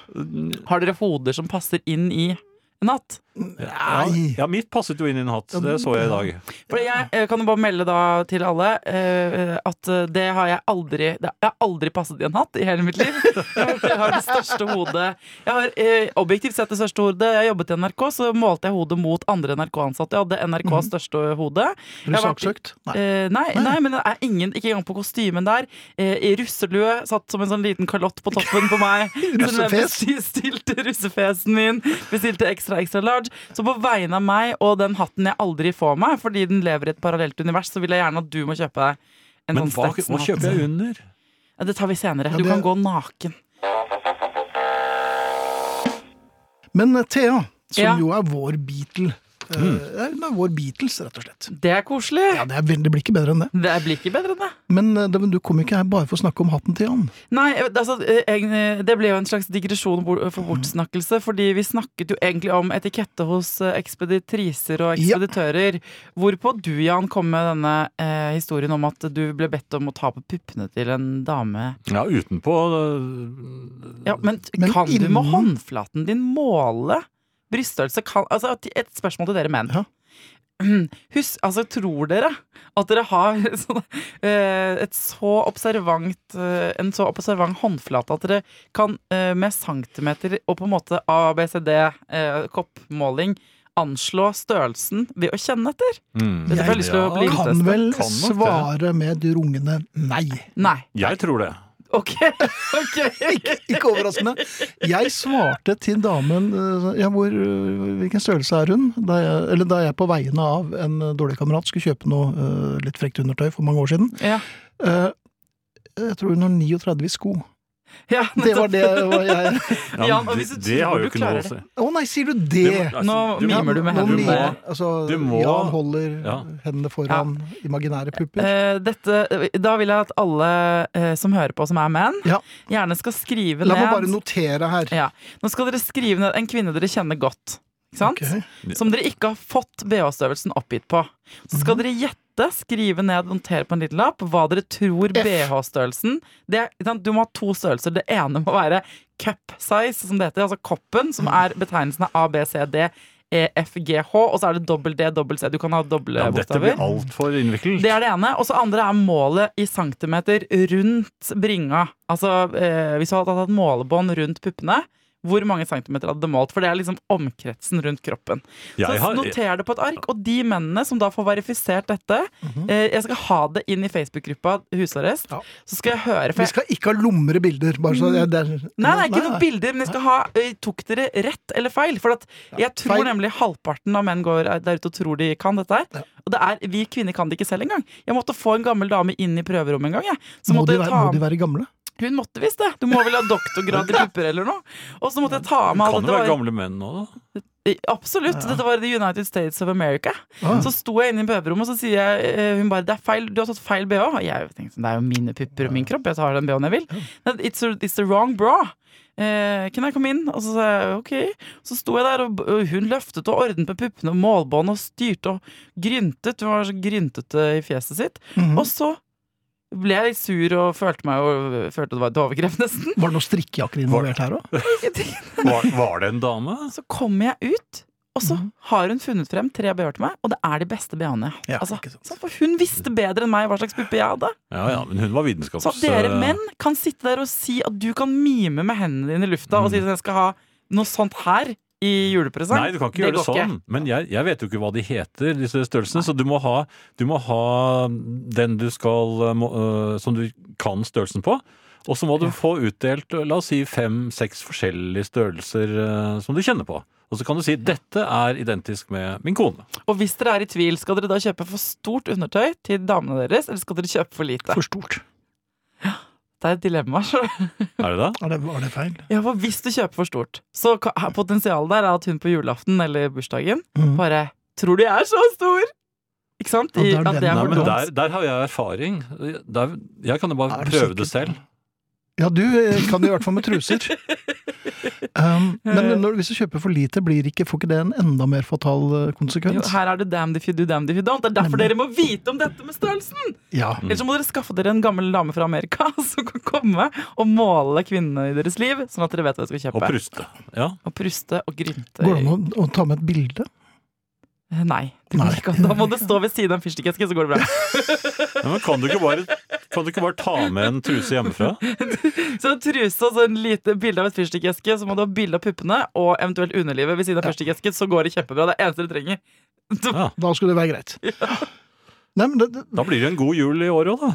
[SPEAKER 5] har dere hoder som passer inn i en hatt?
[SPEAKER 4] Ja,
[SPEAKER 3] Nei.
[SPEAKER 4] ja, mitt passet jo inn i en hatt. Det så jeg i dag.
[SPEAKER 5] For jeg, eh, kan jo bare melde da til alle eh, at eh, det har jeg aldri det, Jeg har aldri passet i en hatt i hele mitt liv. Jeg har det største hodet Jeg har eh, objektivt sett det største hodet. Jeg jobbet i NRK, så målte jeg hodet mot andre NRK-ansatte. Jeg hadde NRKs største hode.
[SPEAKER 3] Blir Mhm. du
[SPEAKER 5] Jeg har vært-
[SPEAKER 3] saksøkt? Nei.
[SPEAKER 5] Eh, nei, nei, men det er ingen, ikke engang på kostymen der. Eh, I russelue, satt som en sånn liten kalott på toppen på meg.
[SPEAKER 3] Russefes.
[SPEAKER 5] Så den Bestilte russefesen min. Bestilte ekstra, ekstra large. Så på vegne av meg og den hatten jeg aldri får meg, fordi den lever i et parallelt univers, så vil jeg gjerne at du må kjøpe deg en
[SPEAKER 4] Men
[SPEAKER 5] sånn
[SPEAKER 4] hva, hva
[SPEAKER 5] Stetson-hatt.
[SPEAKER 4] kjøper jeg under?
[SPEAKER 5] Ja, Det tar vi senere.
[SPEAKER 3] Ja,
[SPEAKER 5] Du
[SPEAKER 3] det-
[SPEAKER 5] kan gå naken.
[SPEAKER 3] Men eh, Thea, som
[SPEAKER 5] Ja.
[SPEAKER 3] jo er vår Beatle eh,
[SPEAKER 4] Mm.
[SPEAKER 3] Hun er vår Beatles, rett og slett.
[SPEAKER 5] Det er koselig.
[SPEAKER 3] Ja, det, er veldig, det blir ikke bedre enn det.
[SPEAKER 5] Det blir ikke bedre enn det.
[SPEAKER 3] Men eh, det- men du kom ikke her bare for å snakke om hatten til han.
[SPEAKER 5] Nei, altså, eh, egentlig- det ble jo en slags digresjon bort- for bortsnakkelse, fordi vi snakket jo egentlig om etikette hos eh, ekspeditriser og
[SPEAKER 3] Ja.
[SPEAKER 5] ekspeditører, hvorpå du, Jan, kom med denne eh, historien om at du ble bedt om å ta på puppene til en dame.
[SPEAKER 4] Ja, utenpå øh,
[SPEAKER 5] Ja, men, t-
[SPEAKER 3] Men
[SPEAKER 5] kan du med
[SPEAKER 3] innen-
[SPEAKER 5] håndflaten din måle bryststørrelse? Kan, altså, et- et spørsmål til dere menn.
[SPEAKER 3] Ja.
[SPEAKER 5] Husk, altså, tror dere at dere har sånn, eh, et så observant, eh, en så observant håndflate at dere kan eh, med centimeter og på en måte ABCD-koppmåling eh, anslå størrelsen ved å kjenne etter?
[SPEAKER 4] Mm.
[SPEAKER 5] Dette får jeg lyst til å bli
[SPEAKER 4] Ja,
[SPEAKER 5] litt-
[SPEAKER 3] Kan vel
[SPEAKER 4] Kan nok det.
[SPEAKER 3] svare med et rungende nei.
[SPEAKER 5] Nei.
[SPEAKER 4] Jeg tror det.
[SPEAKER 5] Ok. ok.
[SPEAKER 3] Ikke overraskende. Jeg svarte til damen eh, ja, hvor, eh, Hvilken størrelse er hun? Da jeg, eller da jeg på vegne av en eh, dårlig kamerat skulle kjøpe noe eh, litt frekt undertøy for mange år siden.
[SPEAKER 5] Ja.
[SPEAKER 3] Eh, jeg tror hun har 39 i sko.
[SPEAKER 5] ja
[SPEAKER 3] Det var det var jeg
[SPEAKER 4] Ja,
[SPEAKER 5] Ja,
[SPEAKER 4] men
[SPEAKER 5] og hvis
[SPEAKER 4] det,
[SPEAKER 5] du
[SPEAKER 4] det
[SPEAKER 5] tror
[SPEAKER 4] har
[SPEAKER 5] du
[SPEAKER 4] jo ikke noe
[SPEAKER 5] klarer
[SPEAKER 4] å si.
[SPEAKER 3] Å nei, sier du
[SPEAKER 4] Du må-
[SPEAKER 3] det?
[SPEAKER 4] altså,
[SPEAKER 5] Eh, Nå
[SPEAKER 4] du må-
[SPEAKER 5] mimer du med
[SPEAKER 3] Nå
[SPEAKER 5] hendene.
[SPEAKER 4] Du
[SPEAKER 3] mimer-
[SPEAKER 4] må,
[SPEAKER 3] altså,
[SPEAKER 4] du må-
[SPEAKER 3] Jan holder
[SPEAKER 4] Ja.
[SPEAKER 3] hendene foran imaginære pupper.
[SPEAKER 5] Eh, dette, da vil jeg at alle eh, som hører på, som er menn,
[SPEAKER 3] Ja.
[SPEAKER 5] gjerne skal skrive
[SPEAKER 3] La meg bare
[SPEAKER 5] ned
[SPEAKER 3] notere her.
[SPEAKER 5] Eh, ja. Nå skal dere skrive ned en kvinne dere kjenner godt. Ikke sant?
[SPEAKER 3] Ok.
[SPEAKER 5] Som dere ikke har fått BH-størrelsen oppgitt på. Så
[SPEAKER 3] Mhm.
[SPEAKER 5] skal dere gjette, skrive ned, notere på en liten lapp hva dere tror
[SPEAKER 3] F.
[SPEAKER 5] BH-størrelsen det er, ikke sant, Du må ha to størrelser. Det ene må være cup size, som det heter. Altså koppen, som
[SPEAKER 3] Mhm.
[SPEAKER 5] er betegnelsen av A, B, C, D, E, F, G, H. Og så er det dobbel D, dobbel C. Du kan ha doble
[SPEAKER 4] Ja, dette
[SPEAKER 5] bokstaver.
[SPEAKER 4] blir altfor innviklet.
[SPEAKER 5] Det er det ene. Og så andre er målet i centimeter rundt bringa. Altså eh, hvis du hadde hatt et målebånd rundt puppene, hvor mange centimeter hadde det målt? For det er liksom omkretsen rundt kroppen. Så
[SPEAKER 4] jeg har,
[SPEAKER 5] noter det på et ark. Og de mennene som da får verifisert dette
[SPEAKER 4] Mhm.
[SPEAKER 5] eh, Jeg skal ha det inn i Facebook-gruppa Husarrest.
[SPEAKER 3] Ja.
[SPEAKER 5] Så skal jeg høre. For
[SPEAKER 3] Vi
[SPEAKER 5] jeg,
[SPEAKER 3] skal ikke ha lomre bilder. Bare så det er, det er,
[SPEAKER 5] Nei, det er ikke noen bilder, men jeg skal ha ø, Tok dere rett eller feil? For at jeg tror
[SPEAKER 3] feil.
[SPEAKER 5] nemlig halvparten av menn går eh, der ute og tror de kan dette her. Og det er, vi kvinner kan det ikke selv engang. Jeg måtte få en gammel dame inn i prøverommet en gang. Jeg. Så
[SPEAKER 3] Må
[SPEAKER 5] måtte
[SPEAKER 3] de, være,
[SPEAKER 5] jeg
[SPEAKER 3] må
[SPEAKER 5] ta
[SPEAKER 3] de være gamle?
[SPEAKER 5] Hun måtte visst det! Du må vel ha doktorgrad i pupper eller noe? Og så måtte jeg ta med
[SPEAKER 4] kan
[SPEAKER 5] alt
[SPEAKER 4] jo være
[SPEAKER 5] dette. Var,
[SPEAKER 4] gamle menn nå, da.
[SPEAKER 5] absolutt. Dette var i The United States of America.
[SPEAKER 3] Ah.
[SPEAKER 5] Så sto jeg inne i prøverommet, og så sier jeg, eh, hun bare 'Det er feil, du har tatt feil bh'. Og jeg tenkte det er jo mine pupper og min kropp, jeg tar den bh-en jeg vil. «No, It's, a, it's the wrong bra. Eh, can I come in? Og så sa jeg ok. Så sto jeg der, og b- og hun løftet og ordnet med puppene og målbånd og styrte og gryntet. Hun var så gryntete i fjeset sitt.
[SPEAKER 3] Mhm.
[SPEAKER 5] Og så ble jeg litt sur og følte meg jo- følte det var et overgrep, nesten.
[SPEAKER 3] Var det noen strikkejakker involvert her òg?
[SPEAKER 4] Var, var det en dame?
[SPEAKER 5] Så kommer jeg ut, og så
[SPEAKER 3] Mhm.
[SPEAKER 5] har hun funnet frem tre bh-er til meg, og det er de beste bh-ene jeg
[SPEAKER 3] Ja,
[SPEAKER 5] har.
[SPEAKER 3] ikke
[SPEAKER 5] altså,
[SPEAKER 3] sant.
[SPEAKER 5] så- for hun visste bedre enn meg hva slags puppe jeg hadde.
[SPEAKER 4] Ja ja, men hun var vitenskaps...
[SPEAKER 5] Så at dere
[SPEAKER 4] eh,
[SPEAKER 5] menn kan sitte der og si at du kan mime med hendene dine i lufta og si at jeg skal ha noe sånt her i julepresang.
[SPEAKER 4] Mhm. Nei, du kan ikke gjøre det
[SPEAKER 5] går
[SPEAKER 4] sånn. Men jeg, jeg vet jo ikke hva de heter, disse størrelsene. Så du må ha, du må ha den du skal eh, må, eh, Som du kan størrelsen på. Og så må du få utdelt eh, la oss si fem-seks forskjellige størrelser eh, som du kjenner på. Og så kan du si 'dette er identisk med min kone'.
[SPEAKER 5] Og hvis dere er i tvil, skal dere da kjøpe for stort undertøy til damene deres, eller skal dere kjøpe for lite?
[SPEAKER 3] For stort.
[SPEAKER 5] Det er et dilemma. skjønner du.
[SPEAKER 4] Er det det?
[SPEAKER 3] Var det, var det feil?
[SPEAKER 5] Ja, for hvis du kjøper for stort, så ka- her- potensialet der er at hun på julaften eller bursdagen
[SPEAKER 3] Mhm.
[SPEAKER 5] bare tror du jeg er så stor! Ikke sant?
[SPEAKER 3] Ja,
[SPEAKER 5] I,
[SPEAKER 3] det er
[SPEAKER 5] at det
[SPEAKER 3] den.
[SPEAKER 5] er
[SPEAKER 4] Nei,
[SPEAKER 5] for
[SPEAKER 4] men
[SPEAKER 5] dumt.
[SPEAKER 4] der, der har jeg erfaring. Der, jeg kan jo bare
[SPEAKER 3] Er du
[SPEAKER 4] prøve det
[SPEAKER 3] sikker?
[SPEAKER 4] selv.
[SPEAKER 3] Ja, du eh, kan det i hvert fall med truser. Um, men når, hvis du kjøper for lite, blir ikke, får ikke det en enda mer fatal eh,
[SPEAKER 5] Jo,
[SPEAKER 3] konsekvens?
[SPEAKER 5] her er det damned if you do, damned if you don't. Det er derfor
[SPEAKER 3] Nemlig.
[SPEAKER 5] dere må vite om dette med størrelsen!
[SPEAKER 4] Mm.
[SPEAKER 3] Ja.
[SPEAKER 5] Eller så må dere skaffe dere en gammel dame fra Amerika som kan komme og måle kvinnene i deres liv, sånn at dere vet hva dere skal
[SPEAKER 4] Og
[SPEAKER 5] kjøpe.
[SPEAKER 4] pruste. Ja.
[SPEAKER 5] Og pruste og grynte.
[SPEAKER 3] Går det an å, å ta med et bilde?
[SPEAKER 5] Nei. Det går
[SPEAKER 3] Nei.
[SPEAKER 5] ikke an. Da må det stå ved siden av en fyrstikkeske, så går det bra.
[SPEAKER 4] Nei, men kan du, ikke bare, kan du ikke bare ta med en truse hjemmefra?
[SPEAKER 5] Så en truse og så en lite bilde av et fyrstikkeske, så må du ha bilde av puppene og eventuelt underlivet ved siden av fyrstikkesken, så går det kjempebra. Det er det eneste du trenger.
[SPEAKER 4] Ja.
[SPEAKER 3] Da skulle det være greit. Nei, men det, det,
[SPEAKER 4] Da blir det en god jul i år òg, da.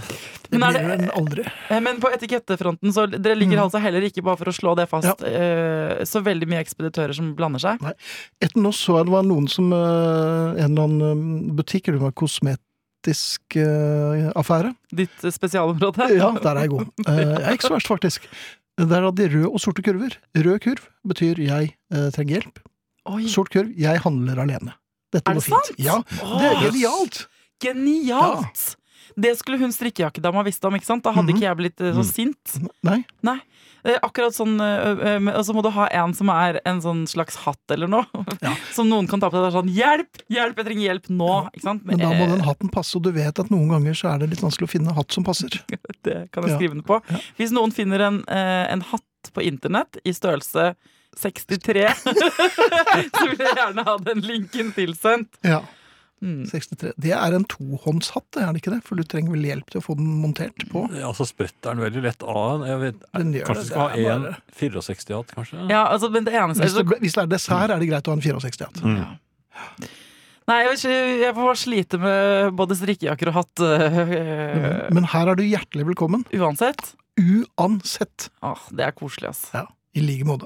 [SPEAKER 3] det
[SPEAKER 5] Men er
[SPEAKER 3] blir jo
[SPEAKER 5] det-
[SPEAKER 3] en aldri.
[SPEAKER 5] Eh, Men på etikettefronten, så dere
[SPEAKER 3] Mm.
[SPEAKER 5] ligger altså heller ikke, bare for å slå det fast, eh, så veldig mye ekspeditører som blander seg.
[SPEAKER 3] Nei. Etter nå så jeg det var noen som eh, En eller annen eh, butikk, eller det var kosmetisk eh, affære.
[SPEAKER 5] Ditt spesialområde.
[SPEAKER 3] Ja, der er jeg god. Eh, jeg er ikke så verst, faktisk. Der hadde de rød og sorte kurver. Rød kurv betyr jeg eh, trenger hjelp.
[SPEAKER 5] Oi,
[SPEAKER 3] Sort kurv jeg handler alene. Dette går
[SPEAKER 5] Er det
[SPEAKER 3] fint.
[SPEAKER 5] sant?
[SPEAKER 3] Ja, det er
[SPEAKER 5] Åh.
[SPEAKER 3] genialt!
[SPEAKER 5] Genialt! Det skulle hun strikkejakkedama visst om. ikke sant? Da hadde ikke jeg blitt eh,
[SPEAKER 3] Mm.
[SPEAKER 5] så
[SPEAKER 4] Mhm.
[SPEAKER 5] sint.
[SPEAKER 3] Nei,
[SPEAKER 5] Eh, akkurat sånn, eh, eh, men- Og så må du ha en som er en sånn slags hatt eller noe.
[SPEAKER 3] Ja.
[SPEAKER 5] Som noen kan ta på deg. Det er sånn 'Hjelp! Hjelp! Jeg trenger hjelp nå!' Ikke sant?
[SPEAKER 3] men da må
[SPEAKER 5] Eh,
[SPEAKER 3] den hatten passe, og du vet at noen ganger så er det litt vanskelig å finne hatt som passer.
[SPEAKER 5] Det kan jeg
[SPEAKER 3] Ja.
[SPEAKER 5] skrive den på.
[SPEAKER 3] Ja.
[SPEAKER 5] Hvis noen finner en, eh, en hatt på internett i størrelse 63, så vil jeg gjerne ha den linken tilsendt.
[SPEAKER 3] Ja,
[SPEAKER 5] Mm.
[SPEAKER 3] 63. Det er en tohåndshatt, er det ikke det? For du trenger vel hjelp til å få den montert på?
[SPEAKER 4] Ja, så spretter den veldig lett av. Jeg vet,
[SPEAKER 3] Den gjør
[SPEAKER 4] kanskje
[SPEAKER 3] det,
[SPEAKER 4] du skal
[SPEAKER 3] det er
[SPEAKER 4] ha en
[SPEAKER 3] bare-
[SPEAKER 4] 64-hatt, kanskje?
[SPEAKER 5] Ja, altså, men det eneste
[SPEAKER 3] Hvis det, ble- hvis det er dessert, er det greit å ha en 64-hatt.
[SPEAKER 5] Nei, jeg, vet ikke, jeg får slite med både strikkejakker og hatt øh,
[SPEAKER 3] Men her er du hjertelig velkommen.
[SPEAKER 5] uansett.
[SPEAKER 3] Uansett.
[SPEAKER 5] Åh, det er koselig, ass.
[SPEAKER 3] Ja, I like måte.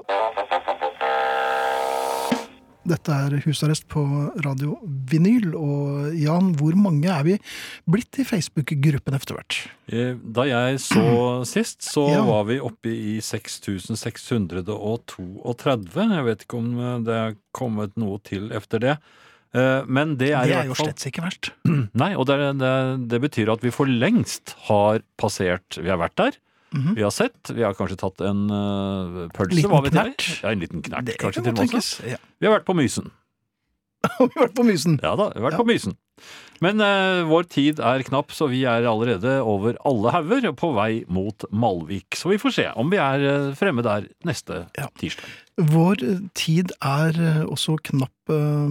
[SPEAKER 3] Dette er husarrest på Radio Vinyl, og Jan, hvor mange er vi blitt i Facebook-gruppen etter hvert?
[SPEAKER 4] Eh, Da jeg så sist, så
[SPEAKER 3] Ja.
[SPEAKER 4] var vi oppe i 6632. Jeg vet ikke om eh, det er kommet noe til efter det. Eh, Men det er,
[SPEAKER 3] Det
[SPEAKER 4] i
[SPEAKER 3] er
[SPEAKER 4] hvert
[SPEAKER 3] jo
[SPEAKER 4] fall-
[SPEAKER 3] slett ikke verst.
[SPEAKER 4] Nei, og det, er- det, er- det betyr at vi for lengst har passert Vi har vært der.
[SPEAKER 3] Mhm.
[SPEAKER 4] Vi har sett, vi har kanskje tatt en eh, pølse,
[SPEAKER 3] Liten
[SPEAKER 4] hva vet
[SPEAKER 3] knert.
[SPEAKER 4] jeg. Ja, en liten knert,
[SPEAKER 3] Det
[SPEAKER 4] kanskje
[SPEAKER 3] kan
[SPEAKER 4] til og med
[SPEAKER 3] godt
[SPEAKER 4] også.
[SPEAKER 3] tenkes. Ja.
[SPEAKER 4] Vi har vært på Mysen.
[SPEAKER 3] har vi vært på Mysen.
[SPEAKER 4] Ja da, jeg har vært på Mysen. Men eh, vår tid er knapp, så vi er allerede over alle hauger og på vei mot Malvik. Så vi får se om vi er eh, fremme der neste
[SPEAKER 3] Ja.
[SPEAKER 4] tirsdag.
[SPEAKER 3] Vår eh, tid er eh, også knapp eh,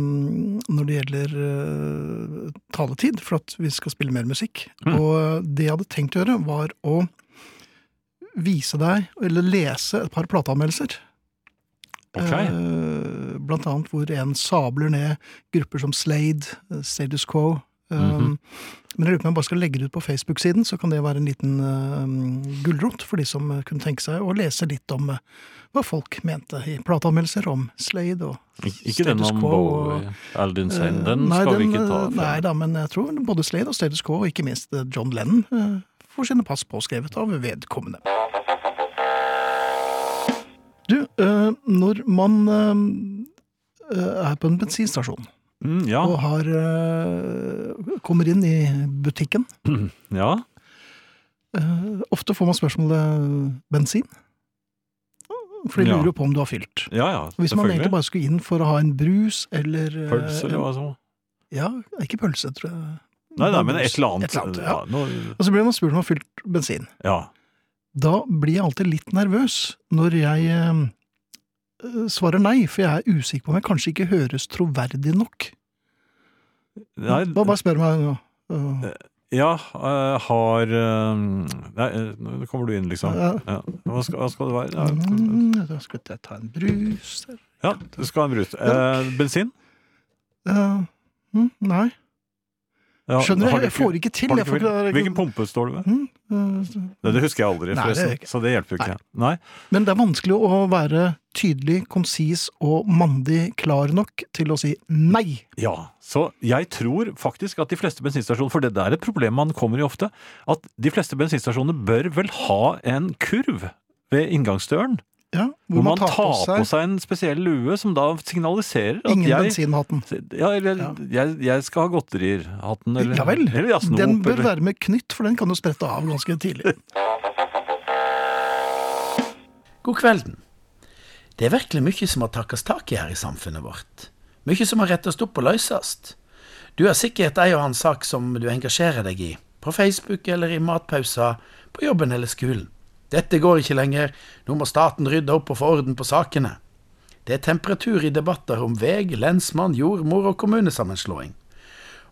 [SPEAKER 3] når det gjelder eh, taletid, for at vi skal spille mer musikk.
[SPEAKER 4] Mm.
[SPEAKER 3] Og eh, det jeg hadde tenkt å gjøre, var å vise deg, eller lese, et par plateanmeldelser.
[SPEAKER 4] Ok.
[SPEAKER 3] Eh, Blant annet hvor en sabler ned grupper som Slade, eh, Status Quo. eh,
[SPEAKER 4] Mhm.
[SPEAKER 3] Men jeg lurer på om jeg bare skal legge det ut på Facebook-siden, så kan det være en liten uh, gulrot for de som eh, kunne tenke seg å lese litt om eh, hva folk mente i plateanmeldelser om Slade og
[SPEAKER 4] Ik ikke den
[SPEAKER 3] status
[SPEAKER 4] om
[SPEAKER 3] quo og-
[SPEAKER 4] Bowie Aldin Sane. Den
[SPEAKER 3] Eh, nei,
[SPEAKER 4] skal vi
[SPEAKER 3] den,
[SPEAKER 4] ikke ta
[SPEAKER 3] eh,
[SPEAKER 4] fra.
[SPEAKER 3] Nei da, men jeg tror både Slade og Status Quo, og ikke minst eh, John Lennon, eh, får sine pass påskrevet av vedkommende. Du, eh, når man eh, eh, er på en bensinstasjon
[SPEAKER 4] Mm, ja.
[SPEAKER 3] og har, eh, kommer inn i butikken,
[SPEAKER 4] ja.
[SPEAKER 3] eh, ofte får man spørsmålet eh, bensin. For de
[SPEAKER 4] Ja.
[SPEAKER 3] lurer jo på om du har fylt.
[SPEAKER 4] Ja ja,
[SPEAKER 3] Hvis man egentlig
[SPEAKER 4] selvfølgelig.
[SPEAKER 3] bare skulle inn for å ha en brus eller eh,
[SPEAKER 4] Pølse eller
[SPEAKER 3] en-
[SPEAKER 4] hva som
[SPEAKER 3] Ja, ikke pølse, tror jeg.
[SPEAKER 4] Nei, nei, men et eller annet.
[SPEAKER 3] Et eller annet, ja.
[SPEAKER 4] ja. nå-
[SPEAKER 3] Og så blir man spurt om man har fylt bensin.
[SPEAKER 4] ja.
[SPEAKER 3] Da blir jeg alltid litt nervøs når jeg eh, svarer nei, for jeg er usikker på om jeg kanskje ikke høres troverdig nok.
[SPEAKER 4] Nei,
[SPEAKER 3] Bare, bare spør meg nå. Eh,
[SPEAKER 4] ja, eh, har eh, Nei, eh, nå kommer du inn, liksom.
[SPEAKER 3] Ja.
[SPEAKER 4] Ja. Hva, skal, hva skal det være? Ja.
[SPEAKER 3] mm, Da skal jeg ta en brus der.
[SPEAKER 4] Ja, du skal ha en brus. Eh, bensin?
[SPEAKER 3] Eh, mm, Nei.
[SPEAKER 4] Ja,
[SPEAKER 3] Skjønner
[SPEAKER 4] har
[SPEAKER 3] du?
[SPEAKER 4] du
[SPEAKER 3] Jeg får ikke til.
[SPEAKER 4] har
[SPEAKER 3] Jeg
[SPEAKER 4] du
[SPEAKER 3] får
[SPEAKER 4] ikke,
[SPEAKER 3] ikke,
[SPEAKER 4] hvilken pumpe står du ved?
[SPEAKER 3] Mm, eh,
[SPEAKER 4] Det, det husker jeg aldri,
[SPEAKER 3] Nei, det
[SPEAKER 4] forresten.
[SPEAKER 3] gjør jeg ikke.
[SPEAKER 4] så det hjelper jo ikke. Nei.
[SPEAKER 3] Men det er vanskelig å være tydelig, konsis og mandig klar nok til å si nei.
[SPEAKER 4] Ja, så jeg tror faktisk at de fleste bensinstasjoner, for det der er et problem man kommer i ofte, at de fleste bensinstasjoner bør vel ha en kurv ved inngangsdøren,
[SPEAKER 3] Ja,
[SPEAKER 4] hvor man tar på seg, en spesiell lue som da signaliserer at
[SPEAKER 3] ingen
[SPEAKER 4] jeg,
[SPEAKER 3] bensinhatten.
[SPEAKER 4] ja, eller, jeg, jeg skal ha godterier-hatten, eller,
[SPEAKER 3] Ja vel.
[SPEAKER 4] eller ja, snop,
[SPEAKER 3] den bør
[SPEAKER 4] eller,
[SPEAKER 3] være med knytt, for den kan jo sprette av ganske tidlig.
[SPEAKER 6] God kvelden. Det er virkelig mye som har takkes tak i her i samfunnet vårt. Mye som har rettes opp og løsest. Du har sikkert ei og annen sak som du engasjerer deg i, på Facebook eller i matpauser, på jobben eller skolen. Dette går ikke lenger, nå må staten rydde opp og få orden på sakene. Det er temperatur i debatter om veg, lensmann, jordmor og kommunesammenslåing.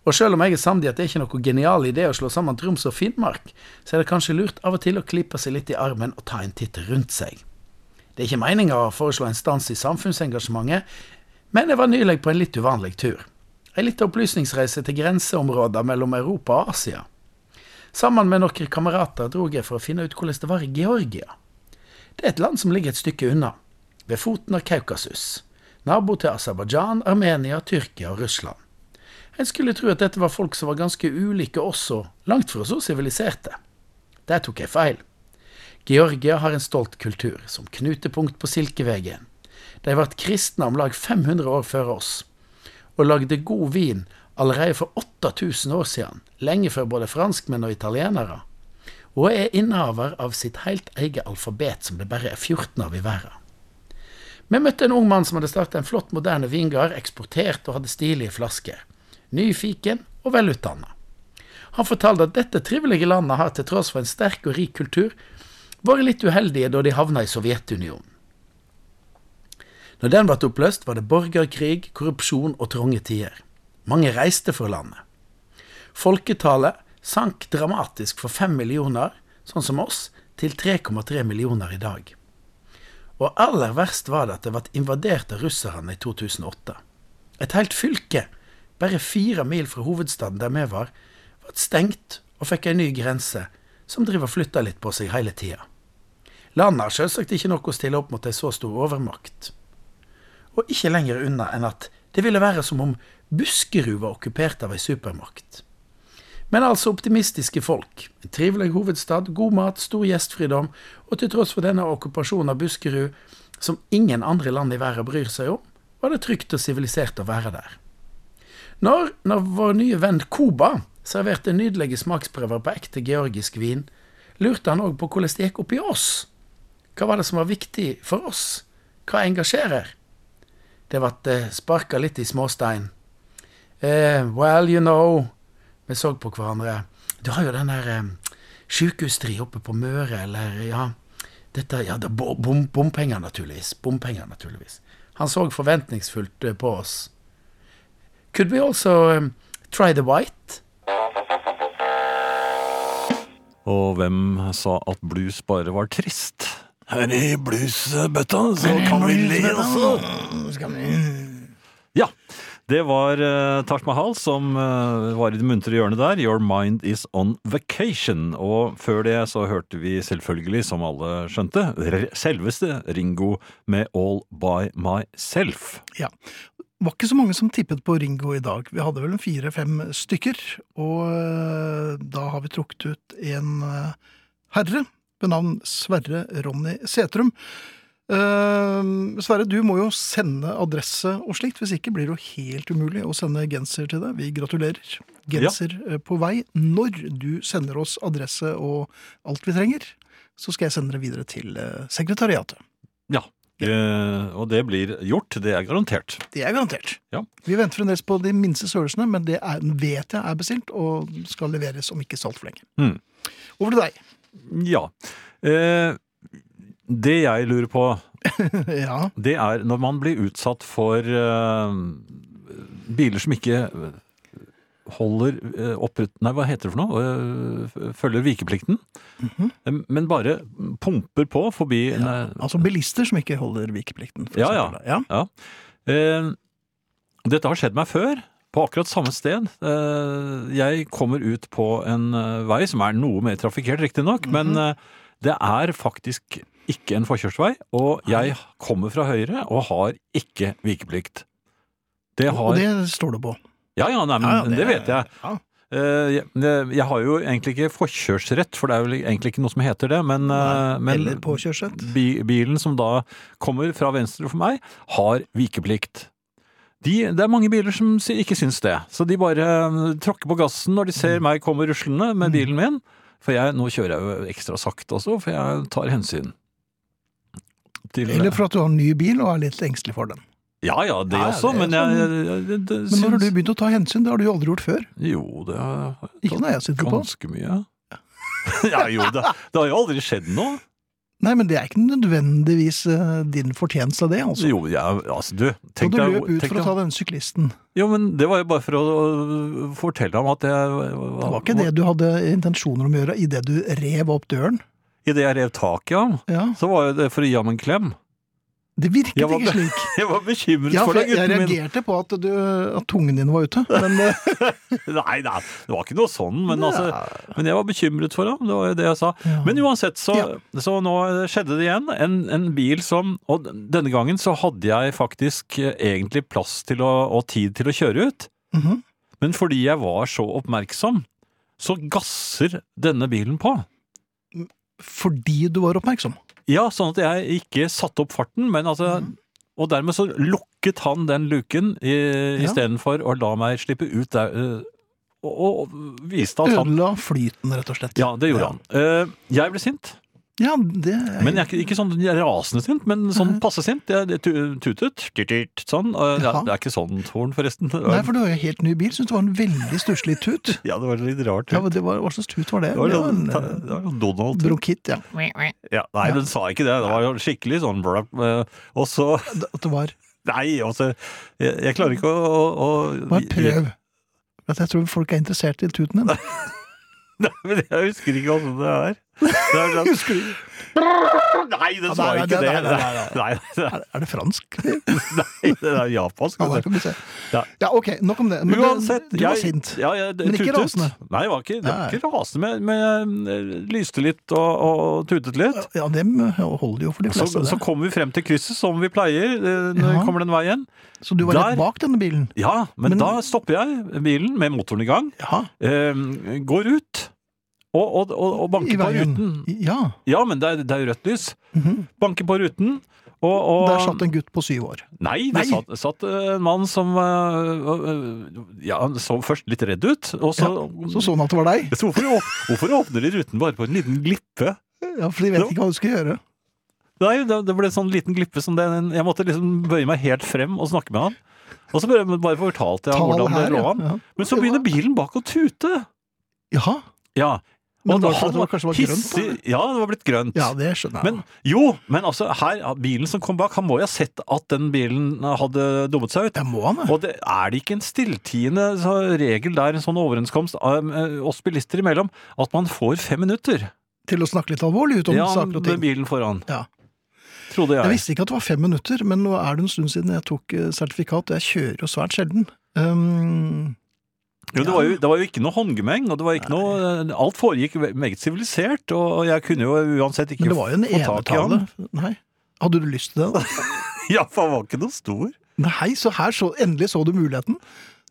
[SPEAKER 6] Og selv om jeg er samd i at det er ikke noe genial idé å slå sammen Troms og Finnmark, så er det kanskje lurt av og til å klype seg litt i armen og ta en titt rundt seg. Det er ikke meninga å foreslå en stans i samfunnsengasjementet, men jeg var nylig på en litt uvanlig tur. Ei lita opplysningsreise til grenseområder mellom Europa og Asia. Sammen med noen kamerater drog jeg for å finne ut hvordan det var i Georgia. Det er et land som ligger et stykke unna, ved foten av Kaukasus. Nabo til Aserbajdsjan, Armenia, Tyrkia og Russland. En skulle tro at dette var folk som var ganske ulike oss, og langt fra så siviliserte. Der tok jeg feil. Georgia har en stolt kultur, som knutepunkt på Silkeveien. De ble kristne om lag 500 år før oss, og lagde god vin allerede for 8000 år siden, lenge før både franskmenn og italienere, og er innehaver av sitt helt eget alfabet, som det bare er 14 av i verden. Vi møtte en ung mann som hadde startet en flott, moderne vingard, eksportert og hadde stilige flasker. Nyfiken og velutdanna. Han fortalte at dette trivelige landet har, til tross for en sterk og rik kultur, vært litt uheldige da de havna i Sovjetunionen. Når den ble oppløst, var det borgerkrig, korrupsjon og trange tider. Mange reiste fra landet. Folketallet sank dramatisk fra fem millioner, sånn som oss, til 3,3 millioner i dag. Og aller verst var det at det ble invadert av russerne i 2008. Et helt fylke, bare fire mil fra hovedstaden der vi var, ble stengt og fikk ei ny grense, som driver og flytter litt på seg hele tida. Landet har selvsagt ikke noe å stille opp mot ei så stor overmakt. Og ikke lenger unna enn at det ville være som om Buskerud var okkupert av ei supermakt. Men altså optimistiske folk. En trivelig hovedstad, god mat, stor gjestfridom, og til tross for denne okkupasjonen av Buskerud, som ingen andre land i verden bryr seg om, var det trygt og sivilisert å være der. Når, når vår nye venn Koba serverte nydelige smaksprøver på ekte georgisk vin, lurte han òg på hvordan det gikk opp i oss. Hva var det som var viktig eh, for oss? Hva engasjerer? Det ble sparka litt i småstein. eh, Well, you know Vi så på hverandre. Du har jo den der eh, sjukehustri oppe på Møre, eller ja dette, ja, det, bo- bom, Bompenger, naturligvis. Bompenger, naturligvis. Han så forventningsfullt eh, på oss. Could we also eh, try the white?
[SPEAKER 4] Og hvem sa at blues bare var trist?
[SPEAKER 1] Her i bluesbøtta, så kan vi le også.
[SPEAKER 4] Ja, det var eh, Taj Mahal som eh, var i det muntre hjørnet der. Your mind is on vacation. Og før det så hørte vi selvfølgelig, som alle skjønte, r- selveste Ringo med All by myself.
[SPEAKER 3] Ja. Det var ikke så mange som tippet på Ringo i dag. Vi hadde vel en fire-fem stykker. Og eh, da har vi trukket ut en eh, herre ved navn Sverre Ronny Setrum. Eh, Sverre, du må jo sende adresse og slikt. Hvis ikke blir det jo helt umulig å sende genser til deg. Vi gratulerer. Genser eh, på vei. Når du sender oss adresse og alt vi trenger, så skal jeg sende det videre til eh, sekretariatet.
[SPEAKER 4] Ja. Eh, og det blir gjort, det er garantert.
[SPEAKER 3] Det er garantert.
[SPEAKER 4] Ja.
[SPEAKER 3] Vi venter fremdeles på de minste størrelsene, men det er, vet jeg er bestilt og skal leveres om ikke så altfor lenge.
[SPEAKER 4] Mm.
[SPEAKER 3] Over til deg.
[SPEAKER 4] Ja. Eh, det jeg lurer på,
[SPEAKER 3] ja.
[SPEAKER 4] det er når man blir utsatt for eh, biler som ikke eh, holder eh, opprett... Nei, hva heter det for noe? Eh, følger vikeplikten. Eh, Men bare pumper på forbi en, eh,
[SPEAKER 3] Altså bilister som ikke holder vikeplikten. for
[SPEAKER 4] Ja,
[SPEAKER 3] eksempel, da.
[SPEAKER 4] ja. Eh, dette har skjedd meg før, på akkurat samme sted. Eh, jeg kommer ut på en eh, vei som er noe mer trafikkert, riktignok,
[SPEAKER 3] Mhm.
[SPEAKER 4] men eh, det er faktisk ikke en forkjørsvei, og jeg kommer fra høyre og har ikke vikeplikt. Det har
[SPEAKER 3] Og det står det på.
[SPEAKER 4] Ja, ja, nei, men
[SPEAKER 3] Ja, ja,
[SPEAKER 4] det,
[SPEAKER 3] det-
[SPEAKER 4] vet jeg.
[SPEAKER 3] ja.
[SPEAKER 4] Eh, jeg, jeg har jo egentlig ikke forkjørsrett, for det er vel egentlig ikke noe som heter det, men, eh, men
[SPEAKER 3] Eller påkjørsrett.
[SPEAKER 4] bi bilen som da kommer fra venstre for meg, har vikeplikt. De, det er mange biler som si- ikke syns det, så de bare eh, tråkker på gassen når de
[SPEAKER 3] Mm.
[SPEAKER 4] ser meg komme ruslende med bilen min. For jeg, nå kjører jeg jo ekstra sakte også, for jeg tar hensyn. Til,
[SPEAKER 3] Eller for at du har en ny bil og er litt engstelig for den.
[SPEAKER 4] Ja ja, det
[SPEAKER 3] Ja, ja,
[SPEAKER 4] også,
[SPEAKER 3] det er sånn.
[SPEAKER 4] men jeg, jeg, jeg, det
[SPEAKER 3] Men når har du
[SPEAKER 4] syns-
[SPEAKER 3] begynt å ta hensyn? Det har du jo aldri gjort før.
[SPEAKER 4] Jo, det har jeg
[SPEAKER 3] Ikke når Sånn jeg sitter på.
[SPEAKER 4] Ganske mye. ja, jo, det, det har jo aldri skjedd noe.
[SPEAKER 3] Nei, men det er ikke nødvendigvis eh, din fortjeneste av det, altså.
[SPEAKER 4] Jo, jeg, altså, du,
[SPEAKER 3] Og
[SPEAKER 4] tenk
[SPEAKER 3] du
[SPEAKER 4] deg
[SPEAKER 3] løp ut
[SPEAKER 4] tenk
[SPEAKER 3] for å
[SPEAKER 4] deg-
[SPEAKER 3] ta den syklisten.
[SPEAKER 4] Jo, men det var jo bare for å øh, fortelle ham at jeg
[SPEAKER 3] Det var ikke det du hadde intensjoner om å gjøre idet du rev opp døren.
[SPEAKER 4] I det jeg rev tak i ham,
[SPEAKER 3] Ja,
[SPEAKER 4] så var jo det for å gi ham en klem.
[SPEAKER 3] Det virket
[SPEAKER 4] Jeg var
[SPEAKER 3] ikke
[SPEAKER 4] be-
[SPEAKER 3] slik.
[SPEAKER 4] Jeg var bekymret
[SPEAKER 3] Ja,
[SPEAKER 4] for
[SPEAKER 3] for
[SPEAKER 4] deg,
[SPEAKER 3] jeg, jeg
[SPEAKER 4] gutten min.
[SPEAKER 3] reagerte på at, du, at tungen din var ute. Men eh,
[SPEAKER 4] Nei, nei, det var ikke noe sånn, men, altså,
[SPEAKER 3] ja,
[SPEAKER 4] men jeg var bekymret for ham. Det var jo det jeg sa.
[SPEAKER 3] ja.
[SPEAKER 4] Men uansett, så,
[SPEAKER 3] Ja.
[SPEAKER 4] så nå skjedde det igjen. En, en bil som Og denne gangen så hadde jeg faktisk eh, egentlig plass til å, og tid til å kjøre ut.
[SPEAKER 3] Mhm.
[SPEAKER 4] Men fordi jeg var så oppmerksom, så gasser denne bilen på.
[SPEAKER 3] Fordi du var oppmerksom.
[SPEAKER 4] Ja, sånn at jeg ikke satte opp farten, men altså
[SPEAKER 3] Mhm.
[SPEAKER 4] Og dermed så lukket han den luken i-
[SPEAKER 3] Ja.
[SPEAKER 4] istedenfor å la meg slippe ut der. eh, Og, og viste at han
[SPEAKER 3] Ødela flyten, rett og slett.
[SPEAKER 4] Ja, det gjorde
[SPEAKER 3] Ja.
[SPEAKER 4] han. Eh, Jeg ble sint.
[SPEAKER 3] Ja, det er,
[SPEAKER 4] Men jeg er ikke, ikke sånn jeg er rasende sint, men sånn
[SPEAKER 3] Mhm.
[SPEAKER 4] passe sint. Jeg, jeg tu- tutet, tutet, sånn. Og Det,
[SPEAKER 3] Ja.
[SPEAKER 4] er- det er ikke sånn tårn, forresten.
[SPEAKER 3] Nei, for du har jo helt ny bil. Syns det var en veldig stusslig tut.
[SPEAKER 4] Ja, det var litt rart.
[SPEAKER 3] Ja, men det var, Hva slags tut var det?
[SPEAKER 4] det var,
[SPEAKER 3] Det var
[SPEAKER 4] sånn-
[SPEAKER 3] en
[SPEAKER 4] ta- det var sånn Donald.
[SPEAKER 3] eh, bronkitt, ja.
[SPEAKER 4] Ja, nei,
[SPEAKER 3] Ja.
[SPEAKER 4] den sa ikke det. Det var jo skikkelig sånn blap. eh, Og så
[SPEAKER 3] At det var
[SPEAKER 4] Nei, altså. Jeg, jeg klarer ikke å, å, å
[SPEAKER 3] Bare prøv. At jeg tror folk er interessert i tuten din.
[SPEAKER 4] Nei, men jeg husker ikke åssen det er. Det er sånn,
[SPEAKER 3] Husker du?
[SPEAKER 4] nei, den sa
[SPEAKER 3] nei, nei,
[SPEAKER 4] ikke det.
[SPEAKER 3] nei, nei, nei, nei.
[SPEAKER 4] Nei, det er-
[SPEAKER 3] Er, er det fransk?
[SPEAKER 4] nei, det er japansk. vet
[SPEAKER 3] Ja, der
[SPEAKER 4] du.
[SPEAKER 3] kan vi se.
[SPEAKER 4] Ja.
[SPEAKER 3] Ja, ok, nok om det. Men
[SPEAKER 4] Uansett,
[SPEAKER 3] det, du var
[SPEAKER 4] jeg-
[SPEAKER 3] sint.
[SPEAKER 4] Ja, jeg,
[SPEAKER 3] Men
[SPEAKER 4] tutet.
[SPEAKER 3] ikke rasende.
[SPEAKER 4] Nei, jeg var ikke, jeg var
[SPEAKER 3] Nei.
[SPEAKER 4] ikke rasende, men, men jeg lyste litt og, og tutet litt.
[SPEAKER 3] Ja, dem eh, holder jo for de
[SPEAKER 4] Så,
[SPEAKER 3] fleste,
[SPEAKER 4] så
[SPEAKER 3] det.
[SPEAKER 4] kom vi frem til krysset, som vi pleier eh, når
[SPEAKER 3] Ja.
[SPEAKER 4] vi kommer den veien.
[SPEAKER 3] Så du var
[SPEAKER 4] der-
[SPEAKER 3] rett bak denne bilen?
[SPEAKER 4] Ja, men,
[SPEAKER 3] Men-
[SPEAKER 4] da stopper jeg bilen med motoren i gang,
[SPEAKER 3] Ja.
[SPEAKER 4] eh, går ut og, og, og, og
[SPEAKER 3] I
[SPEAKER 4] banker på
[SPEAKER 3] veien.
[SPEAKER 4] ruten.
[SPEAKER 3] Ja.
[SPEAKER 4] Ja, men det er, det er jo rødt lys.
[SPEAKER 3] Mhm.
[SPEAKER 4] Banker på ruten. Og, og,
[SPEAKER 3] Der satt en gutt på syv år.
[SPEAKER 4] Nei, det
[SPEAKER 3] Nei.
[SPEAKER 4] Satt, satt eh, en mann som eh, eh, ja, han så først litt redd ut, og så,
[SPEAKER 3] Så så han at det var deg.
[SPEAKER 4] Så hvorfor, åp- hvorfor åpner de ruten bare på en liten glippe?
[SPEAKER 3] Ja, For de vet
[SPEAKER 4] Ja.
[SPEAKER 3] ikke hva du skal gjøre.
[SPEAKER 4] Nei, det, det ble en sånn liten glippe som det, jeg måtte liksom bøye meg helt frem og snakke med han. Og så bare, men bare fortalte jeg ham
[SPEAKER 3] Tall
[SPEAKER 4] hvordan det
[SPEAKER 3] her,
[SPEAKER 4] lå
[SPEAKER 3] ja.
[SPEAKER 4] an.
[SPEAKER 3] Ja.
[SPEAKER 4] Men så begynner bilen bak å tute!
[SPEAKER 3] Jaha.
[SPEAKER 4] Ja.
[SPEAKER 3] Men
[SPEAKER 4] Og
[SPEAKER 3] var det
[SPEAKER 4] han
[SPEAKER 3] fordi det var- kanskje det var grønt, da,
[SPEAKER 4] hissig- Ja, det var blitt grønt.
[SPEAKER 3] Ja, det skjønner jeg.
[SPEAKER 4] Men jo, men altså, her, bilen som kom bak, han må jo ha sett at den bilen hadde dummet seg ut.
[SPEAKER 3] det må han, det.
[SPEAKER 4] Og det, er det ikke en stilltiende så- regel der, en sånn overenskomst um, eh, oss bilister imellom, at man får fem minutter?
[SPEAKER 3] Til å snakke litt alvorlig ut om
[SPEAKER 4] ja,
[SPEAKER 3] saker og
[SPEAKER 4] med
[SPEAKER 3] ting.
[SPEAKER 4] bilen foran.
[SPEAKER 3] Ja.
[SPEAKER 4] Trodde jeg.
[SPEAKER 3] Jeg visste ikke at det var fem minutter, men nå er det en stund siden jeg tok eh, sertifikat, og jeg kjører jo svært sjelden. Um,
[SPEAKER 4] Jo, det, var jo, det var jo ikke noe håndgemeng, og det var ikke noe, eh, alt foregikk ve- meget sivilisert. Og jeg kunne jo uansett ikke
[SPEAKER 3] men det var jo en
[SPEAKER 4] få tak i
[SPEAKER 3] enetale.
[SPEAKER 4] ham.
[SPEAKER 3] Nei. Hadde du lyst til det? da?
[SPEAKER 4] Ja, for han var ikke noe stor.
[SPEAKER 3] Nei, så her så, endelig så du muligheten.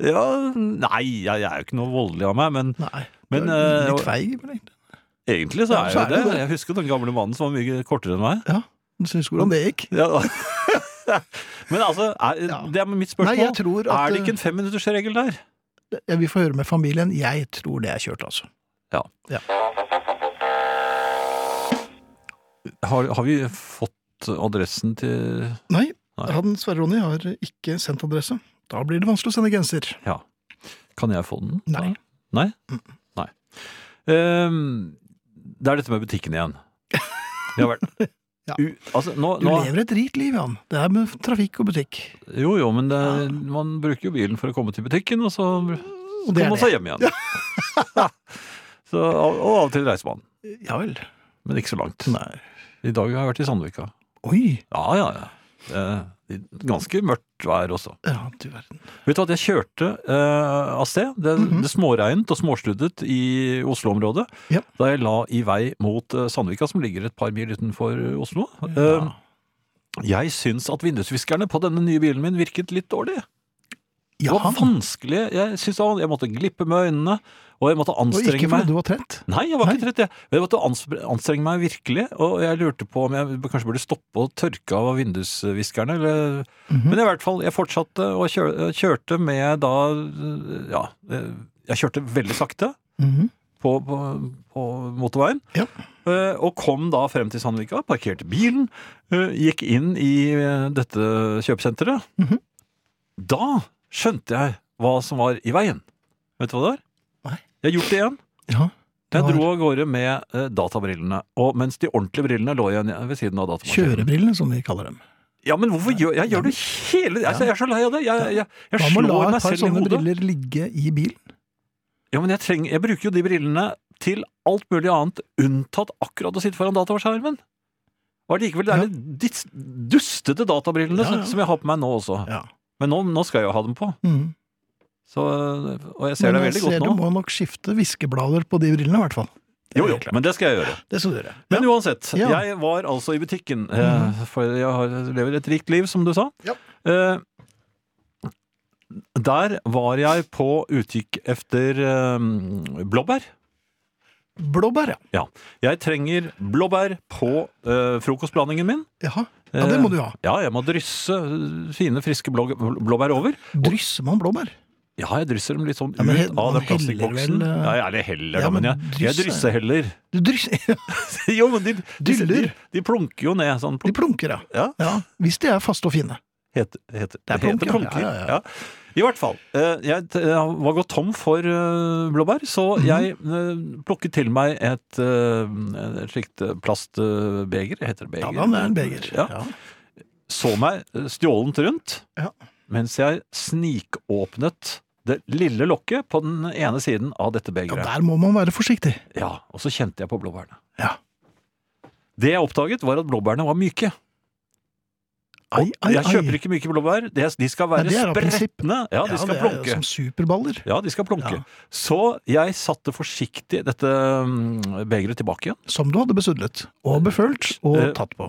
[SPEAKER 4] Ja, nei, jeg, jeg er jo ikke noe voldelig av meg, men
[SPEAKER 3] Nei.
[SPEAKER 4] Men,
[SPEAKER 3] du er
[SPEAKER 4] eh,
[SPEAKER 3] litt feig, men egentlig.
[SPEAKER 4] egentlig så
[SPEAKER 3] Ja,
[SPEAKER 4] er
[SPEAKER 3] så
[SPEAKER 4] jeg jo
[SPEAKER 3] er det
[SPEAKER 4] det.
[SPEAKER 3] det.
[SPEAKER 4] Jeg husker den gamle mannen som var mye kortere enn meg.
[SPEAKER 3] Ja. Du syns hvordan det gikk?
[SPEAKER 4] Ja. Men altså, er,
[SPEAKER 3] Ja.
[SPEAKER 4] det er mitt spørsmål.
[SPEAKER 3] Nei, jeg tror at- eh,
[SPEAKER 4] er det ikke en femminuttersregel der?
[SPEAKER 3] Jeg vil få høre med familien. Jeg tror det er kjørt, altså.
[SPEAKER 4] Har, har vi fått adressen til
[SPEAKER 3] Nei,
[SPEAKER 4] Nei.
[SPEAKER 3] han Sverre Ronny har ikke sendt adresse. Da blir det vanskelig å sende genser.
[SPEAKER 4] Ja. Kan jeg få den?
[SPEAKER 3] Nei.
[SPEAKER 4] Nei? Nei. Ehm, det er dette med butikken igjen. Ja vel.
[SPEAKER 3] Ja.
[SPEAKER 4] U, altså, nå,
[SPEAKER 3] Du
[SPEAKER 4] nå,
[SPEAKER 3] lever et rikt liv, Jan. Det er med trafikk og butikk.
[SPEAKER 4] jo, jo, men det, man bruker jo bilen for å komme til butikken, og så
[SPEAKER 3] Og
[SPEAKER 4] kommer
[SPEAKER 3] det
[SPEAKER 4] man
[SPEAKER 3] er det.
[SPEAKER 4] seg hjem igjen. så, og, og av og til reiser man.
[SPEAKER 3] Ja vel.
[SPEAKER 4] Men ikke så langt.
[SPEAKER 3] Nei.
[SPEAKER 4] I dag har jeg vært i Sandvika.
[SPEAKER 3] Oi!
[SPEAKER 4] Ja, ja, ja. Det er ganske mørkt vær også.
[SPEAKER 3] Ja, du verden.
[SPEAKER 4] Vet du at jeg kjørte eh, av sted? Det, det småregnet og småsluddet i Oslo-området.
[SPEAKER 3] Mhm. Ja.
[SPEAKER 4] Da jeg la i vei mot eh, Sandvika, som ligger et par mil utenfor eh, Oslo. Eh,
[SPEAKER 3] Ja.
[SPEAKER 4] jeg syns at vindusviskerne på denne nye bilen min virket litt dårlig. Det
[SPEAKER 3] Ja,
[SPEAKER 4] var vanskelig. Jeg, synes det var- jeg måtte glippe med øynene, og jeg måtte
[SPEAKER 3] og ikke
[SPEAKER 4] anstrenge meg.
[SPEAKER 3] fordi du var trett.
[SPEAKER 4] Nei, jeg var
[SPEAKER 3] Nei.
[SPEAKER 4] ikke trett. Jeg, Men jeg måtte ans- anstrenge meg virkelig, og jeg lurte på om jeg kanskje burde stoppe og tørke av vindusviskerne, eller
[SPEAKER 3] Mhm.
[SPEAKER 4] men i hvert fall, jeg fortsatte og kjør, kjørte med da Ja, eh, jeg kjørte veldig sakte
[SPEAKER 3] Mhm.
[SPEAKER 4] på, på, på motorveien.
[SPEAKER 3] Ja.
[SPEAKER 4] eh, Og kom da frem til Sandvika, parkerte bilen, eh, gikk inn i eh, dette kjøpesenteret.
[SPEAKER 3] Mhm.
[SPEAKER 4] Da skjønte jeg hva som var i veien. Vet du hva det var?
[SPEAKER 3] Nei.
[SPEAKER 4] Jeg har gjort det igjen.
[SPEAKER 3] Ja.
[SPEAKER 4] Jeg
[SPEAKER 3] Det var-
[SPEAKER 4] dro av gårde med eh, databrillene, og mens de ordentlige brillene lå igjen ved siden av datamaskinen.
[SPEAKER 3] Kjørebrillene, som vi kaller dem.
[SPEAKER 4] Ja, men hvorfor gjør jeg gjør det hele altså, Jeg er så lei av det. Jeg, jeg, jeg,
[SPEAKER 3] Man må la
[SPEAKER 4] slår
[SPEAKER 3] et
[SPEAKER 4] meg
[SPEAKER 3] par
[SPEAKER 4] selv i
[SPEAKER 3] sånne
[SPEAKER 4] hodet.
[SPEAKER 3] briller ligge i bilen.
[SPEAKER 4] Ja, men jeg, trenger, jeg bruker jo de brillene til alt mulig annet, unntatt akkurat å sitte foran dataskjermen. Og allikevel, det er
[SPEAKER 3] Ja.
[SPEAKER 4] de dis- dustete databrillene
[SPEAKER 3] Ja, ja.
[SPEAKER 4] som jeg har på meg nå også.
[SPEAKER 3] Ja.
[SPEAKER 4] Men nå, nå skal jeg jo ha dem på.
[SPEAKER 3] Mhm.
[SPEAKER 4] Så, og jeg ser deg
[SPEAKER 3] Men jeg
[SPEAKER 4] veldig
[SPEAKER 3] ser
[SPEAKER 4] godt
[SPEAKER 3] Du
[SPEAKER 4] nå.
[SPEAKER 3] må nok skifte viskeblader på de brillene, i hvert fall. Det er
[SPEAKER 4] Jo, jo,
[SPEAKER 3] helt klart.
[SPEAKER 4] men det skal jeg gjøre.
[SPEAKER 3] Det skal du gjøre.
[SPEAKER 4] Men uansett,
[SPEAKER 3] Ja. Mm.
[SPEAKER 4] jeg var altså i butikken, eh, for jeg har, lever et rikt liv, som du sa.
[SPEAKER 3] Ja.
[SPEAKER 4] Eh, der var jeg på utkikk efter eh, blåbær.
[SPEAKER 3] Blåbær, ja.
[SPEAKER 4] Ja. Jeg trenger blåbær på eh, frokostblandingen min.
[SPEAKER 3] Jaha. Ja, det må du ha.
[SPEAKER 4] Ja, jeg må drysse eh, fine, friske blå, blåbær over.
[SPEAKER 3] Drysser man blåbær?
[SPEAKER 4] Ja, jeg drysser dem litt sånn
[SPEAKER 3] Ja, men he-
[SPEAKER 4] ut av
[SPEAKER 3] man
[SPEAKER 4] den
[SPEAKER 3] heller
[SPEAKER 4] plastikkboksen.
[SPEAKER 3] vel, eh,
[SPEAKER 4] Ja, jeg er heller,
[SPEAKER 3] Ja,
[SPEAKER 4] da, men
[SPEAKER 3] men
[SPEAKER 4] jeg, jeg
[SPEAKER 3] drysser-
[SPEAKER 4] drysser heller.
[SPEAKER 3] Du drysser
[SPEAKER 4] jo, men de, de, de,
[SPEAKER 3] Dyller.
[SPEAKER 4] de plunker jo ned sånn.
[SPEAKER 3] De plunker, ja.
[SPEAKER 4] Ja.
[SPEAKER 3] ja. Hvis de er faste og fine.
[SPEAKER 4] Heter, heter,
[SPEAKER 3] Det er
[SPEAKER 4] heter
[SPEAKER 3] plunker,
[SPEAKER 4] plunker.
[SPEAKER 3] ja,
[SPEAKER 4] Ja,
[SPEAKER 3] ja, ja.
[SPEAKER 4] I hvert fall. eh, Jeg t- jeg var gått tom for eh, blåbær,
[SPEAKER 3] Mhm.
[SPEAKER 4] så jeg eh, plukket til meg et, eh, et slikt eh, plastbeger. Heter det beger?
[SPEAKER 3] Ja, da det er en beger.
[SPEAKER 4] Ja. så meg eh, stjålent rundt,
[SPEAKER 3] Ja.
[SPEAKER 4] mens jeg snikåpnet det lille lokket på den ene siden av dette
[SPEAKER 3] Ja,
[SPEAKER 4] begeret. Ja,
[SPEAKER 3] der må man være forsiktig.
[SPEAKER 4] og så kjente jeg på blåbærene.
[SPEAKER 3] Ja.
[SPEAKER 4] Det jeg oppdaget, var at blåbærene var myke.
[SPEAKER 3] Ai, ai,
[SPEAKER 4] jeg kjøper ikke myke blåbær. De de skal være
[SPEAKER 3] Nei, det er av prinsipp.
[SPEAKER 4] spretne. Ja, de skal
[SPEAKER 3] det er
[SPEAKER 4] plunke.
[SPEAKER 3] Som superballer.
[SPEAKER 4] Ja, de skal plunke.
[SPEAKER 3] Ja.
[SPEAKER 4] Så jeg satte forsiktig dette mm, begeret tilbake igjen,
[SPEAKER 3] Som du hadde besudlet. Og befølt og
[SPEAKER 4] Eh,
[SPEAKER 3] tatt på.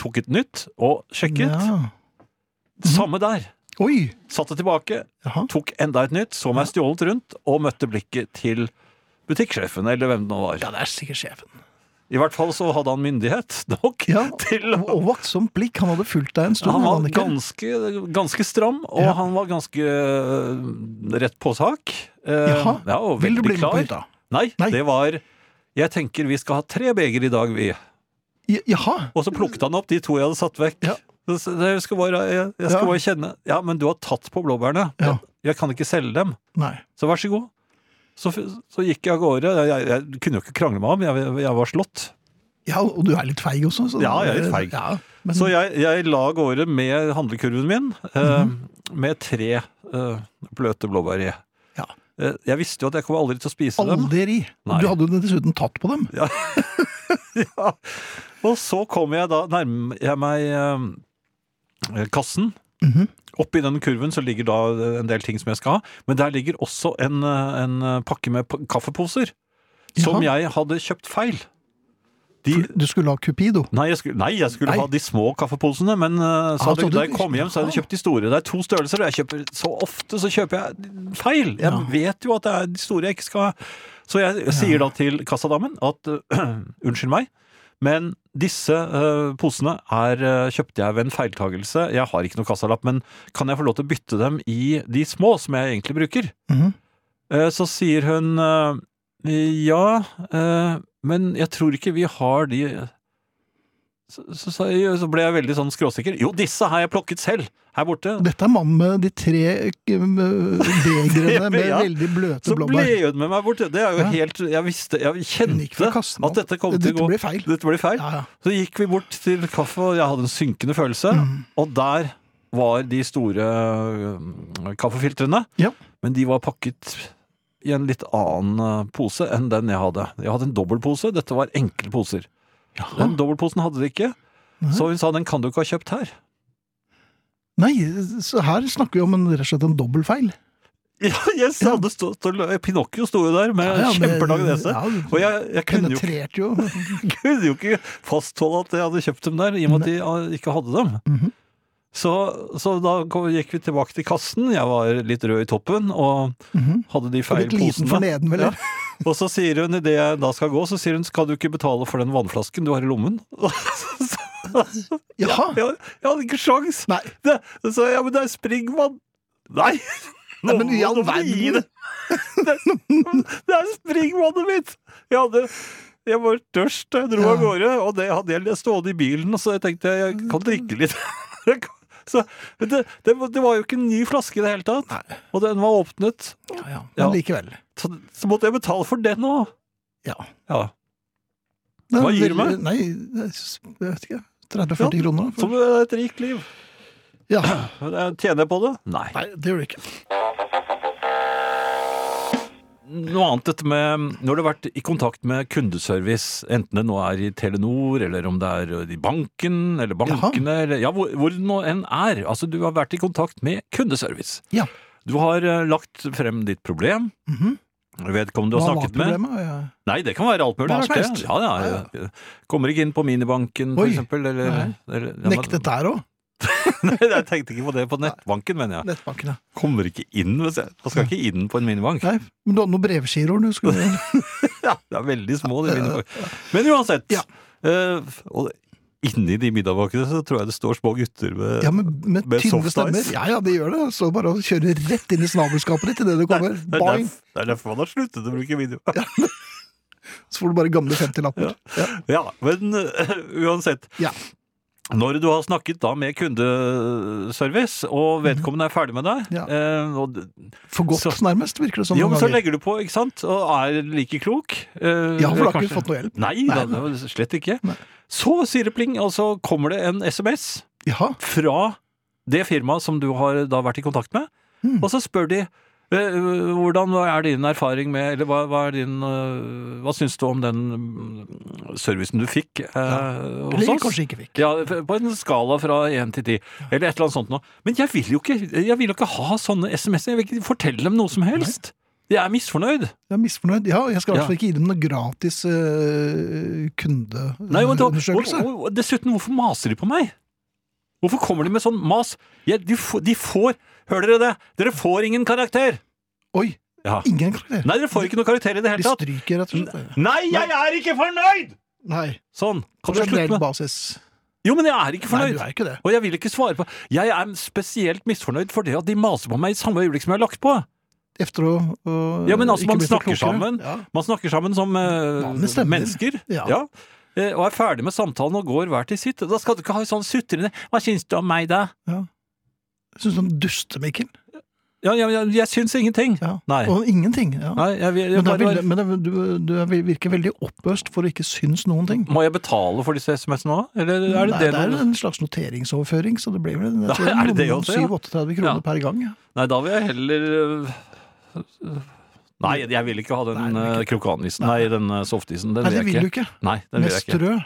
[SPEAKER 4] tok et nytt og sjekket.
[SPEAKER 3] Ja. mhm.
[SPEAKER 4] Samme der.
[SPEAKER 3] Oi!
[SPEAKER 4] Satte tilbake,
[SPEAKER 3] Jaha.
[SPEAKER 4] tok enda et nytt, så meg stjålet rundt og møtte blikket til butikksjefen, eller hvem det nå var.
[SPEAKER 3] Ja, det er sikkert sjefen.
[SPEAKER 4] I hvert fall så hadde han myndighet nok
[SPEAKER 3] Ja,
[SPEAKER 4] til
[SPEAKER 3] Og
[SPEAKER 4] å
[SPEAKER 3] og vaktsomt blikk. Han hadde fulgt deg en stund.
[SPEAKER 4] han
[SPEAKER 3] hadde
[SPEAKER 4] var
[SPEAKER 3] han ikke?
[SPEAKER 4] ganske, ganske stram, og
[SPEAKER 3] Ja.
[SPEAKER 4] han var ganske øh, rett på sak. Eh,
[SPEAKER 3] Jaha.
[SPEAKER 4] Ja, og
[SPEAKER 3] Vil du
[SPEAKER 4] veldig
[SPEAKER 3] bli med på
[SPEAKER 4] klar.
[SPEAKER 3] hytta?
[SPEAKER 4] Nei,
[SPEAKER 3] Nei.
[SPEAKER 4] det var Jeg tenker vi skal ha tre beger i dag, vi.
[SPEAKER 3] Ja, Jaha.
[SPEAKER 4] Og så plukket han opp de to jeg hadde satt vekk.
[SPEAKER 3] Ja.
[SPEAKER 4] Så- så Jeg skal, bare, jeg, jeg skal
[SPEAKER 3] Ja.
[SPEAKER 4] bare kjenne Ja, men du har tatt på blåbærene.
[SPEAKER 3] Ja.
[SPEAKER 4] Jeg kan ikke selge dem.
[SPEAKER 3] Nei.
[SPEAKER 4] Så vær så god. Så, f- så gikk jeg av gårde. Jeg, jeg, jeg kunne jo ikke krangle med ham, jeg, jeg var slått.
[SPEAKER 3] Ja, og du er litt feig også. så-
[SPEAKER 4] Ja, jeg er litt feig.
[SPEAKER 3] Ja, men,
[SPEAKER 4] Så jeg, jeg la av gårde med handlekurven min,
[SPEAKER 3] Mm-hmm.
[SPEAKER 4] eh, med tre eh, bløte blåbær i.
[SPEAKER 3] Ja.
[SPEAKER 4] Eh, jeg visste jo at jeg kom aldri til å spise dem.
[SPEAKER 3] aldri.
[SPEAKER 4] Nei.
[SPEAKER 3] Du hadde jo dessuten tatt på dem.
[SPEAKER 4] Ja. Og så kom jeg da, nærmer jeg meg eh, kassen.
[SPEAKER 3] Mhm.
[SPEAKER 4] Oppi den kurven så ligger da eh, en del ting som jeg skal ha, men der ligger også en, eh, en pakke med pa- kaffeposer. Som
[SPEAKER 3] Jaha.
[SPEAKER 4] jeg hadde kjøpt feil. De,
[SPEAKER 3] For Du skulle ha Cupido.
[SPEAKER 4] nei, jeg skulle, nei, jeg skulle
[SPEAKER 3] Nei.
[SPEAKER 4] ha de små kaffeposene, men eh, så
[SPEAKER 3] Ah,
[SPEAKER 4] hadde,
[SPEAKER 3] så du-
[SPEAKER 4] da jeg kom hjem, så hadde jeg kjøpt de store. Det er to størrelser, og jeg kjøper så ofte så kjøper jeg feil. Jeg
[SPEAKER 3] Ja.
[SPEAKER 4] vet jo at det er de store jeg ikke skal ha. Så jeg sier da til kassadamen at eh, unnskyld meg, men disse eh, posene er, eh, kjøpte jeg ved en feiltagelse. Jeg har ikke noe kassalapp, men kan jeg få lov til å bytte dem i de små som jeg egentlig bruker?
[SPEAKER 3] Mhm.
[SPEAKER 4] Eh, Så sier hun eh, ja, eh, men jeg tror ikke vi har de så, så, sa jeg- så ble jeg veldig sånn skråsikker. Jo, disse har jeg plukket selv her borte.
[SPEAKER 3] Dette er mannen med de tre eh, begrene med
[SPEAKER 4] Ja.
[SPEAKER 3] veldig bløte
[SPEAKER 4] Så ble
[SPEAKER 3] blåbær.
[SPEAKER 4] hun med meg borte. Det er jo
[SPEAKER 3] Ja.
[SPEAKER 4] helt Jeg visste, jeg
[SPEAKER 3] Gikk fra
[SPEAKER 4] kjente
[SPEAKER 3] kassen
[SPEAKER 4] at
[SPEAKER 3] nå.
[SPEAKER 4] dette kom til
[SPEAKER 3] Dette
[SPEAKER 4] å gå
[SPEAKER 3] ble feil.
[SPEAKER 4] Dette ble feil.
[SPEAKER 3] Ja, ja.
[SPEAKER 4] Så gikk vi bort til kaffe, og jeg hadde en synkende følelse.
[SPEAKER 3] Mm.
[SPEAKER 4] Og der var de store øh, kaffefiltrene.
[SPEAKER 3] Ja.
[SPEAKER 4] Men de var pakket i en litt annen øh, pose enn den jeg hadde. Jeg hadde en dobbeltpose. Dette var enkle poser. Den dobbeltposen hadde de ikke.
[SPEAKER 3] Nei.
[SPEAKER 4] Så hun sa den kan du ikke ha kjøpt her.
[SPEAKER 3] Nei, så her snakker vi om en, rett og slett en dobbeltfeil.
[SPEAKER 4] Ja, jeg sa det stod, stod, Pinocchio sto jo der med
[SPEAKER 3] Ja, ja, men-
[SPEAKER 4] kjempelang nese.
[SPEAKER 3] ja,
[SPEAKER 4] og jeg, jeg kunne, jo,
[SPEAKER 3] Penetrerte jo.
[SPEAKER 4] kunne jo ikke fastholde at jeg hadde kjøpt dem der, i og med at de øh, ikke hadde dem.
[SPEAKER 3] Mhm.
[SPEAKER 4] Så, så da kom- gikk vi tilbake til kassen. Jeg var litt rød i toppen og
[SPEAKER 3] Mhm.
[SPEAKER 4] hadde de
[SPEAKER 3] Og
[SPEAKER 4] feil
[SPEAKER 3] Litt liten for
[SPEAKER 4] posene.
[SPEAKER 3] neden, vel?
[SPEAKER 4] Ja. Og så sier hun idet jeg da skal gå, så sier hun skal du ikke betale for den vannflasken du har i lommen?
[SPEAKER 3] Jaha.
[SPEAKER 4] jeg, jeg hadde ikke sjans!
[SPEAKER 3] Nei.
[SPEAKER 4] Det, så ja, men det er springvann! Nei!
[SPEAKER 3] Nei, men i all
[SPEAKER 4] må du gi det.
[SPEAKER 3] verden.
[SPEAKER 4] Det, er- det er springvannet mitt! Jeg hadde jeg var tørst da jeg dro av
[SPEAKER 3] Ja. Mm.
[SPEAKER 4] gårde, og det hadde jeg stående i bilen, så jeg tenkte jeg kan drikke litt. Jeg kan- Så, men det, det, var- det var jo ikke en ny flaske i det hele tatt,
[SPEAKER 3] Nei.
[SPEAKER 4] og den var åpnet.
[SPEAKER 3] Ja, ja.
[SPEAKER 4] Ja.
[SPEAKER 3] Men likevel.
[SPEAKER 4] Så, så måtte jeg betale for den òg.
[SPEAKER 3] Ja.
[SPEAKER 4] Ja.
[SPEAKER 3] Det er
[SPEAKER 4] Hva gir du
[SPEAKER 3] veldig-
[SPEAKER 4] meg?
[SPEAKER 3] Nei, jeg s- jeg vet ikke. 30-40 kroner? For,
[SPEAKER 4] Som et rikt liv.
[SPEAKER 3] ja.
[SPEAKER 4] Tjener jeg på det? Nei.
[SPEAKER 3] Nei, det gjør du ikke.
[SPEAKER 4] Noe annet dette med Når du har vært i kontakt med kundeservice, enten det nå er i Telenor, eller om det er i banken, eller bankene, eller ja, hvor, hvor det nå enn er. Altså, du har vært i kontakt med kundeservice.
[SPEAKER 3] Ja.
[SPEAKER 4] Du har eh, lagt frem ditt problem.
[SPEAKER 3] Mhm.
[SPEAKER 4] Vedkommende du har
[SPEAKER 3] Hva var
[SPEAKER 4] snakket med.
[SPEAKER 3] problemet? Ja.
[SPEAKER 4] Nei, det kan være alt mulig.
[SPEAKER 3] Hva
[SPEAKER 4] rart,
[SPEAKER 3] som
[SPEAKER 4] det.
[SPEAKER 3] helst.
[SPEAKER 4] Ja, ja, ja. Kommer ikke inn på minibanken, for
[SPEAKER 3] Oi.
[SPEAKER 4] eksempel. Eller,
[SPEAKER 3] Nei.
[SPEAKER 4] eller, ja, men-
[SPEAKER 3] Nektet der òg?
[SPEAKER 4] Nei, jeg tenkte ikke på det på nettbanken, mener jeg.
[SPEAKER 3] Nettbankene.
[SPEAKER 4] Kommer ikke inn, hvis jeg. Man skal ikke inn på en minibank.
[SPEAKER 3] Nei, men du hadde noen brevgiroer du skulle
[SPEAKER 4] Ja, det er veldig små, de middagbakene. Men uansett.
[SPEAKER 3] Ja.
[SPEAKER 4] eh, og inni de middagbakkene så tror jeg det står små gutter med
[SPEAKER 3] Ja, med, med
[SPEAKER 4] Eh, Med
[SPEAKER 3] tynne
[SPEAKER 4] soft
[SPEAKER 3] stemmer.
[SPEAKER 4] ice.
[SPEAKER 3] Ja, ja, det gjør det. Så bare å kjøre rett inn i snabelskapet ditt idet du kommer.
[SPEAKER 4] det, er
[SPEAKER 3] Boing!
[SPEAKER 4] derf, det er derfor man har sluttet å bruke video. Ja,
[SPEAKER 3] Så får du bare gamle 50-lapper. Ja.
[SPEAKER 4] Men eh, uansett.
[SPEAKER 3] Ja.
[SPEAKER 4] Når du har snakket da med kundeservice, og vedkommende er ferdig med deg
[SPEAKER 3] Mhm. Ja.
[SPEAKER 4] eh, og,
[SPEAKER 3] For godt,
[SPEAKER 4] Så-
[SPEAKER 3] nærmest, virker det som.
[SPEAKER 4] Jo,
[SPEAKER 3] noen
[SPEAKER 4] men så
[SPEAKER 3] ganger.
[SPEAKER 4] legger du på, ikke sant? Og er like klok. eh,
[SPEAKER 3] Ja, for du har
[SPEAKER 4] kanskje-
[SPEAKER 3] ikke fått noe hjelp.
[SPEAKER 4] Nei,
[SPEAKER 3] Nei,
[SPEAKER 4] da, det var slett ikke.
[SPEAKER 3] Nei.
[SPEAKER 4] Så sier det pling, og så kommer det en SMS.
[SPEAKER 3] Jaha.
[SPEAKER 4] fra det firmaet som du har da vært i kontakt med,
[SPEAKER 3] Mm.
[SPEAKER 4] og så spør de eh, hvordan er din erfaring med Eller hva, hva er din eh, Hva syns du om den mm, servicen du fikk eh, hos
[SPEAKER 3] Eller
[SPEAKER 4] oss?
[SPEAKER 3] kanskje ikke fikk.
[SPEAKER 4] Ja, på en skala fra 1 til 10, eller et eller annet sånt noe. Men jeg vil jo ikke, jeg vil jo ikke ha sånne SMS-er. Jeg vil ikke fortelle dem noe som helst. Jeg er misfornøyd.
[SPEAKER 3] Jeg er misfornøyd. Ja, jeg skal i
[SPEAKER 4] Ja.
[SPEAKER 3] hvert fall ikke gi dem noe gratis øh,
[SPEAKER 4] Nei, og, da, og,
[SPEAKER 3] kundeundersøkelse.
[SPEAKER 4] og, og dessuten, hvorfor maser de på meg? Hvorfor kommer de med sånn mas? Ja, de, får- de får Hører dere det? Dere får ingen karakter!
[SPEAKER 3] Oi,
[SPEAKER 4] Ja.
[SPEAKER 3] ingen karakter.
[SPEAKER 4] Nei, dere får ikke noe karakter i det
[SPEAKER 3] De
[SPEAKER 4] hele tatt!
[SPEAKER 3] stryker, rett og slett.
[SPEAKER 4] Nei, jeg er ikke fornøyd!
[SPEAKER 3] Nei.
[SPEAKER 4] Sånn. Kan
[SPEAKER 3] På
[SPEAKER 4] du slutte
[SPEAKER 3] generell
[SPEAKER 4] med
[SPEAKER 3] basis.
[SPEAKER 4] Jo, men jeg er ikke
[SPEAKER 3] Nei,
[SPEAKER 4] fornøyd!
[SPEAKER 3] du er ikke det.
[SPEAKER 4] Og jeg vil ikke svare på Jeg er spesielt misfornøyd for det at de maser på meg i samme øyeblikk som jeg har lagt på.
[SPEAKER 3] Efter å øh,
[SPEAKER 4] Ja, men altså,
[SPEAKER 3] ikke
[SPEAKER 4] man
[SPEAKER 3] bli så
[SPEAKER 4] snakker
[SPEAKER 3] klokere.
[SPEAKER 4] sammen.
[SPEAKER 3] Ja.
[SPEAKER 4] Man snakker sammen som eh,
[SPEAKER 3] Vanlige stemmer.
[SPEAKER 4] mennesker.
[SPEAKER 3] Ja.
[SPEAKER 4] eh, og er ferdig med samtalen og går hver til sitt. Da skal du ikke ha sånn sutrende 'Hva syns du om meg, da?'
[SPEAKER 3] Syns du han duster, Mikkel?
[SPEAKER 4] Ja, ja, ja jeg syns ingenting.
[SPEAKER 3] Ja.
[SPEAKER 4] Nei.
[SPEAKER 3] Og ingenting. Ja.
[SPEAKER 4] Nei, jeg, jeg,
[SPEAKER 3] men det
[SPEAKER 4] bare,
[SPEAKER 3] er veldig, men det, er- du, du er- virker veldig oppøst for å ikke synes noen ting.
[SPEAKER 4] Må jeg betale for disse SMS-ene òg, eller er det
[SPEAKER 3] Nei,
[SPEAKER 4] det?
[SPEAKER 3] det er
[SPEAKER 4] noe-
[SPEAKER 3] en slags noteringsoverføring, så det blir vel jeg tror
[SPEAKER 4] Ja, er det det
[SPEAKER 3] noen
[SPEAKER 4] også, ja?
[SPEAKER 3] 37
[SPEAKER 4] Ja.
[SPEAKER 3] kroner per gang. ja.
[SPEAKER 4] Nei, da vil jeg heller øh, øh, Nei, jeg vil ikke ha den
[SPEAKER 3] Nei, det vil
[SPEAKER 4] øh, krokanisen. Nei, den øh, softisen. Den
[SPEAKER 3] Nei, det
[SPEAKER 4] vil
[SPEAKER 3] vil
[SPEAKER 4] jeg
[SPEAKER 3] du
[SPEAKER 4] ikke.
[SPEAKER 3] ikke.
[SPEAKER 4] Nei, den
[SPEAKER 3] Med
[SPEAKER 4] vil jeg ikke.
[SPEAKER 3] strø.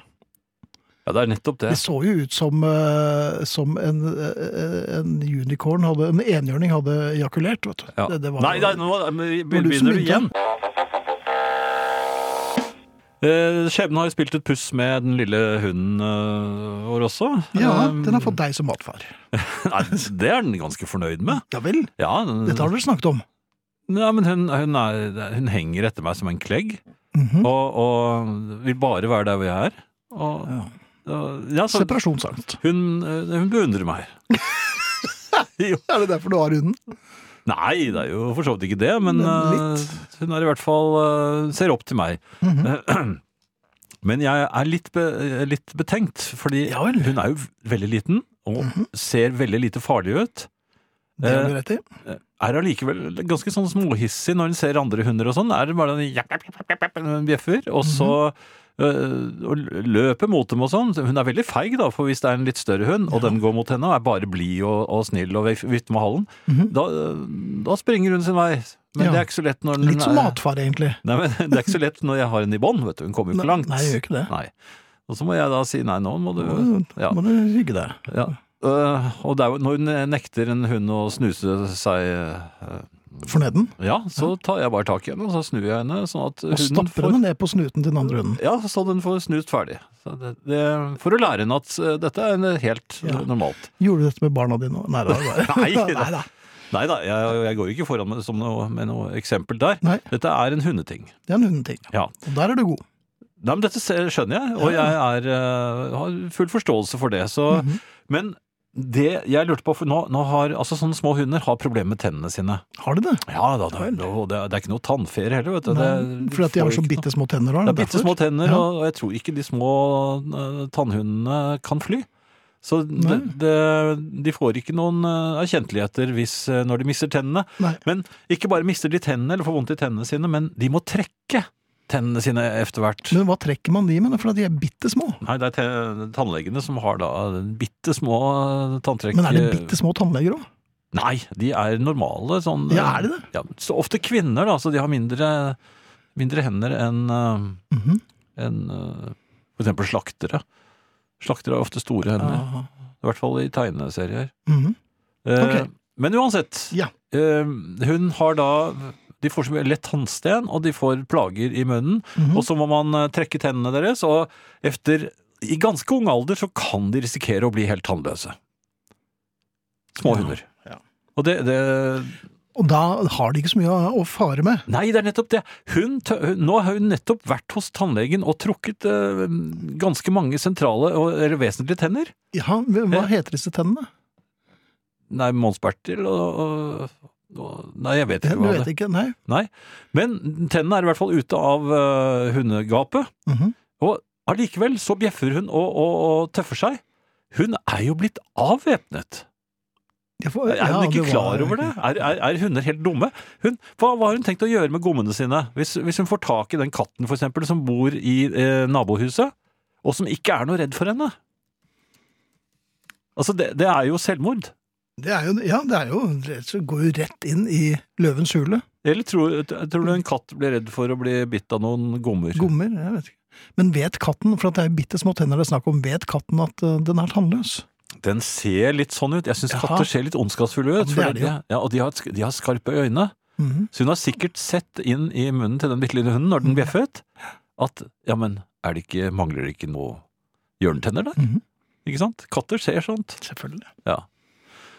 [SPEAKER 4] Ja, det er nettopp det.
[SPEAKER 3] Det så jo ut som, eh, som en, eh, en unicorn hadde En enhjørning hadde ejakulert, vet du.
[SPEAKER 4] Ja.
[SPEAKER 3] Det, det var,
[SPEAKER 4] nei, nei, nå øh,
[SPEAKER 3] var du som
[SPEAKER 4] begynner du igjen.
[SPEAKER 3] begynte.
[SPEAKER 4] Eh, Skjebnen har jo spilt et puss med den lille hunden øh, vår også.
[SPEAKER 3] Ja,
[SPEAKER 4] Um,
[SPEAKER 3] den har fått deg som matfar.
[SPEAKER 4] Nei, det er den ganske fornøyd med.
[SPEAKER 3] Ja vel,
[SPEAKER 4] Ja, den,
[SPEAKER 3] dette har dere snakket om.
[SPEAKER 4] Nei, men hun, hun, er, hun henger etter meg som en klegg,
[SPEAKER 3] Mhm.
[SPEAKER 4] og, og vil bare være der hvor jeg er. Og,
[SPEAKER 3] Ja.
[SPEAKER 4] og, ja, så,
[SPEAKER 3] Separasjonsangst.
[SPEAKER 4] hun, øh, hun beundrer meg.
[SPEAKER 3] Er det derfor du har hunden?
[SPEAKER 4] Nei, det er jo for så vidt ikke det, men
[SPEAKER 3] Men litt. Mhm.
[SPEAKER 4] eh, hun er i hvert fall eh, ser opp til meg. Men jeg er litt, be, litt betenkt, fordi
[SPEAKER 3] Ja vel. Mhm.
[SPEAKER 4] hun er jo veldig liten og ser veldig lite farlig ut.
[SPEAKER 3] Det har
[SPEAKER 4] Eh,
[SPEAKER 3] du rett i.
[SPEAKER 4] Er allikevel ganske sånn småhissig når hun ser andre hunder og sånn. Er det bare den japp, japp, japp, japp, japp, hun bjeffer,
[SPEAKER 3] Mhm.
[SPEAKER 4] og så eh, og løper mot dem og sånn. Hun er veldig feig, da, for hvis det er en litt større hund, og den går mot henne og er bare blid og, og snill og vif- vifter med halen,
[SPEAKER 3] Mhm.
[SPEAKER 4] da, da springer hun sin vei. Men
[SPEAKER 3] Ja.
[SPEAKER 4] det er ikke så lett når hun
[SPEAKER 3] Litt som
[SPEAKER 4] er-
[SPEAKER 3] matfar, egentlig.
[SPEAKER 4] Nei, men det er ikke så lett når jeg har henne i bånd, vet du. Hun kommer jo ikke
[SPEAKER 3] Nei,
[SPEAKER 4] langt.
[SPEAKER 3] Nei, jeg gjør ikke det.
[SPEAKER 4] Nei. Og så må jeg da si nei, nå må du
[SPEAKER 3] Nå
[SPEAKER 4] Ja.
[SPEAKER 3] må du rygge deg.
[SPEAKER 4] ja. Øh, Og det er jo når hun nekter en hund å snuse seg øh,
[SPEAKER 3] Forned den,
[SPEAKER 4] Ja, så tar jeg bare tak i henne, og så snur jeg henne sånn at
[SPEAKER 3] og
[SPEAKER 4] hunden
[SPEAKER 3] stapper
[SPEAKER 4] får
[SPEAKER 3] henne ned på snuten til den andre hunden.
[SPEAKER 4] ja, så den får snust ferdig. Så det, det, for å lære henne at øh, dette er en helt
[SPEAKER 3] Ja.
[SPEAKER 4] normalt.
[SPEAKER 3] Gjorde du dette med barna dine òg? Nei, det var bare
[SPEAKER 4] Nei, det-
[SPEAKER 3] Neida.
[SPEAKER 4] Nei da, jeg, jeg går jo ikke foran med, som noe, med noe eksempel der.
[SPEAKER 3] Nei.
[SPEAKER 4] Dette er en hundeting.
[SPEAKER 3] Det er en hundeting.
[SPEAKER 4] Ja.
[SPEAKER 3] Og der er du god.
[SPEAKER 4] Nei, men Dette ser- skjønner jeg, og jeg er, eh, har full forståelse for det. Så,
[SPEAKER 3] Mhm.
[SPEAKER 4] Men det jeg lurte på for nå, nå har, altså Sånne små hunder har problemer med tennene sine.
[SPEAKER 3] Har de det?
[SPEAKER 4] Ja, da, da, og det, det er ikke noe tannferie heller. vet du.
[SPEAKER 3] Nei, Fordi at de har så bitte små tenner?
[SPEAKER 4] Det er bitte små tenner,
[SPEAKER 3] Ja.
[SPEAKER 4] og, og jeg tror ikke de små eh, tannhundene kan fly. Så
[SPEAKER 3] Nei.
[SPEAKER 4] det, det, de får ikke noen eh, erkjenteligheter hvis, eh, når de mister tennene.
[SPEAKER 3] Nei.
[SPEAKER 4] Men ikke bare mister de tennene eller får vondt i tennene sine, men de må trekke tennene sine etter hvert.
[SPEAKER 3] Men hva trekker man de med? da? Fordi de er bitte små.
[SPEAKER 4] Nei, det er te- tannlegene som har da bitte små eh, tanntrekk.
[SPEAKER 3] Men er det bitte små tannleger òg?
[SPEAKER 4] Nei, de er normale. Sånn,
[SPEAKER 3] Ja, er de det?
[SPEAKER 4] Ja, så ofte kvinner, da, så de har mindre, mindre hender enn eh,
[SPEAKER 3] Mhm.
[SPEAKER 4] enn, eh, for eksempel slaktere. Slaktere har ofte store hender, i hvert fall i tegneserier.
[SPEAKER 3] Mhm.
[SPEAKER 4] Eh,
[SPEAKER 3] Ok.
[SPEAKER 4] Men uansett,
[SPEAKER 3] Ja.
[SPEAKER 4] eh, hun har da de får så mye lett tannsten, og de får plager i munnen.
[SPEAKER 3] Mhm.
[SPEAKER 4] Og så må man eh, trekke tennene deres, og efter, i ganske ung alder så kan de risikere å bli helt tannløse. Små
[SPEAKER 3] Ja,
[SPEAKER 4] hunder.
[SPEAKER 3] ja.
[SPEAKER 4] Og det, det
[SPEAKER 3] Og da har de ikke så mye å- å fare med.
[SPEAKER 4] Nei, det er nettopp det. Hun, tø- hun- nå har hun nettopp vært hos tannlegen og trukket eh, ganske mange sentrale og eller vesentlige tenner.
[SPEAKER 3] Ja, Hva
[SPEAKER 4] Ja.
[SPEAKER 3] heter disse tennene?
[SPEAKER 4] Nei, Mons Bertil og, og, og Nei, jeg vet
[SPEAKER 3] Det,
[SPEAKER 4] ikke
[SPEAKER 3] du
[SPEAKER 4] hva
[SPEAKER 3] vet
[SPEAKER 4] det er.
[SPEAKER 3] ikke? Nei.
[SPEAKER 4] Men tennene er i hvert fall ute av eh, hundegapet.
[SPEAKER 3] Mhm.
[SPEAKER 4] Og allikevel så bjeffer hun og, og, og tøffer seg. Hun er jo blitt avvæpnet.
[SPEAKER 3] Jeg får-
[SPEAKER 4] Er hun
[SPEAKER 3] ja,
[SPEAKER 4] ikke
[SPEAKER 3] var-
[SPEAKER 4] klar over det? Er, er, er hunder helt dumme? Hun, hva, hva har hun tenkt å gjøre med gommene sine? Hvis, hvis hun får tak i den katten for eksempel, som bor i eh, nabohuset, og som ikke er noe redd for henne? Altså, det, det er jo selvmord.
[SPEAKER 3] Det er jo, ja, det er jo Det går jo rett inn i løvens hule.
[SPEAKER 4] Eller tror, tror du en katt blir redd for å bli bitt av noen gommer?
[SPEAKER 3] Gommer, jeg vet ikke. Men vet katten, for at det er bitte små tenner det er snakk om, vet katten at eh, den er tannløs?
[SPEAKER 4] Den ser litt sånn ut. Jeg syns
[SPEAKER 3] Jaha.
[SPEAKER 4] katter ser litt ondskapsfulle
[SPEAKER 3] Ja,
[SPEAKER 4] ut.
[SPEAKER 3] det
[SPEAKER 4] for
[SPEAKER 3] er de jo.
[SPEAKER 4] de- ja, og de har, et- de har skarpe øyne.
[SPEAKER 3] Mhm.
[SPEAKER 4] Så hun har sikkert sett inn i munnen til den bitte lille hunden når den bjeffet, at ja, men er det ikke, mangler det ikke noe hjørnetenner der?
[SPEAKER 3] Mhm.
[SPEAKER 4] Ikke sant? Katter ser sånt.
[SPEAKER 3] Selvfølgelig.
[SPEAKER 4] Ja.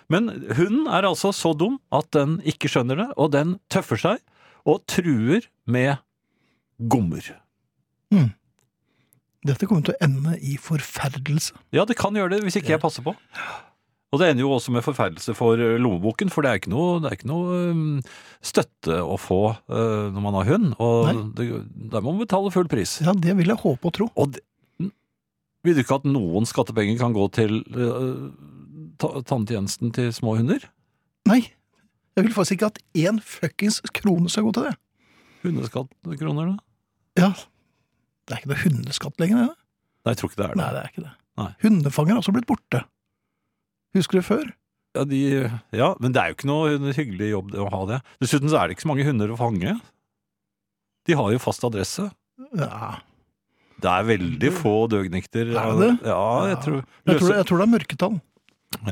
[SPEAKER 4] Men hunden er altså så dum at den ikke skjønner det, og den tøffer seg og truer med gommer.
[SPEAKER 3] Dette kommer til å ende i forferdelse.
[SPEAKER 4] Ja, det kan gjøre det hvis ikke jeg passer på. Og det ender jo også med forferdelse for eh, lommeboken, for det er ikke noe, det er ikke noe eh, støtte å få eh, når man har hund, og
[SPEAKER 3] Nei.
[SPEAKER 4] det, der må man betale full pris.
[SPEAKER 3] Ja, det vil jeg håpe og tro.
[SPEAKER 4] Og det, Vil du ikke at noen skattepenger kan gå til øh, ta- tanntjenesten til små hunder?
[SPEAKER 3] Nei, jeg vil faktisk ikke at én fuckings krone skal gå til det.
[SPEAKER 4] Hundeskattkroner, da?
[SPEAKER 3] Ja, Det er ikke noe hundeskatt lenger, det.
[SPEAKER 4] Nei, jeg tror ikke det er det.
[SPEAKER 3] Nei, det er ikke det.
[SPEAKER 4] Nei.
[SPEAKER 3] Hundefanger er også blitt borte. Husker du før?
[SPEAKER 4] Ja, de, ja, men det er jo ikke noe hyggelig jobb det å ha det. Dessuten så er det ikke så mange hunder å fange. De har jo fast adresse.
[SPEAKER 3] Ja.
[SPEAKER 4] Det er veldig få døgnekter.
[SPEAKER 3] Mm. Er det det?
[SPEAKER 4] Ja, jeg tror,
[SPEAKER 3] Jeg tror,
[SPEAKER 4] løse,
[SPEAKER 3] jeg tror det er mørketall.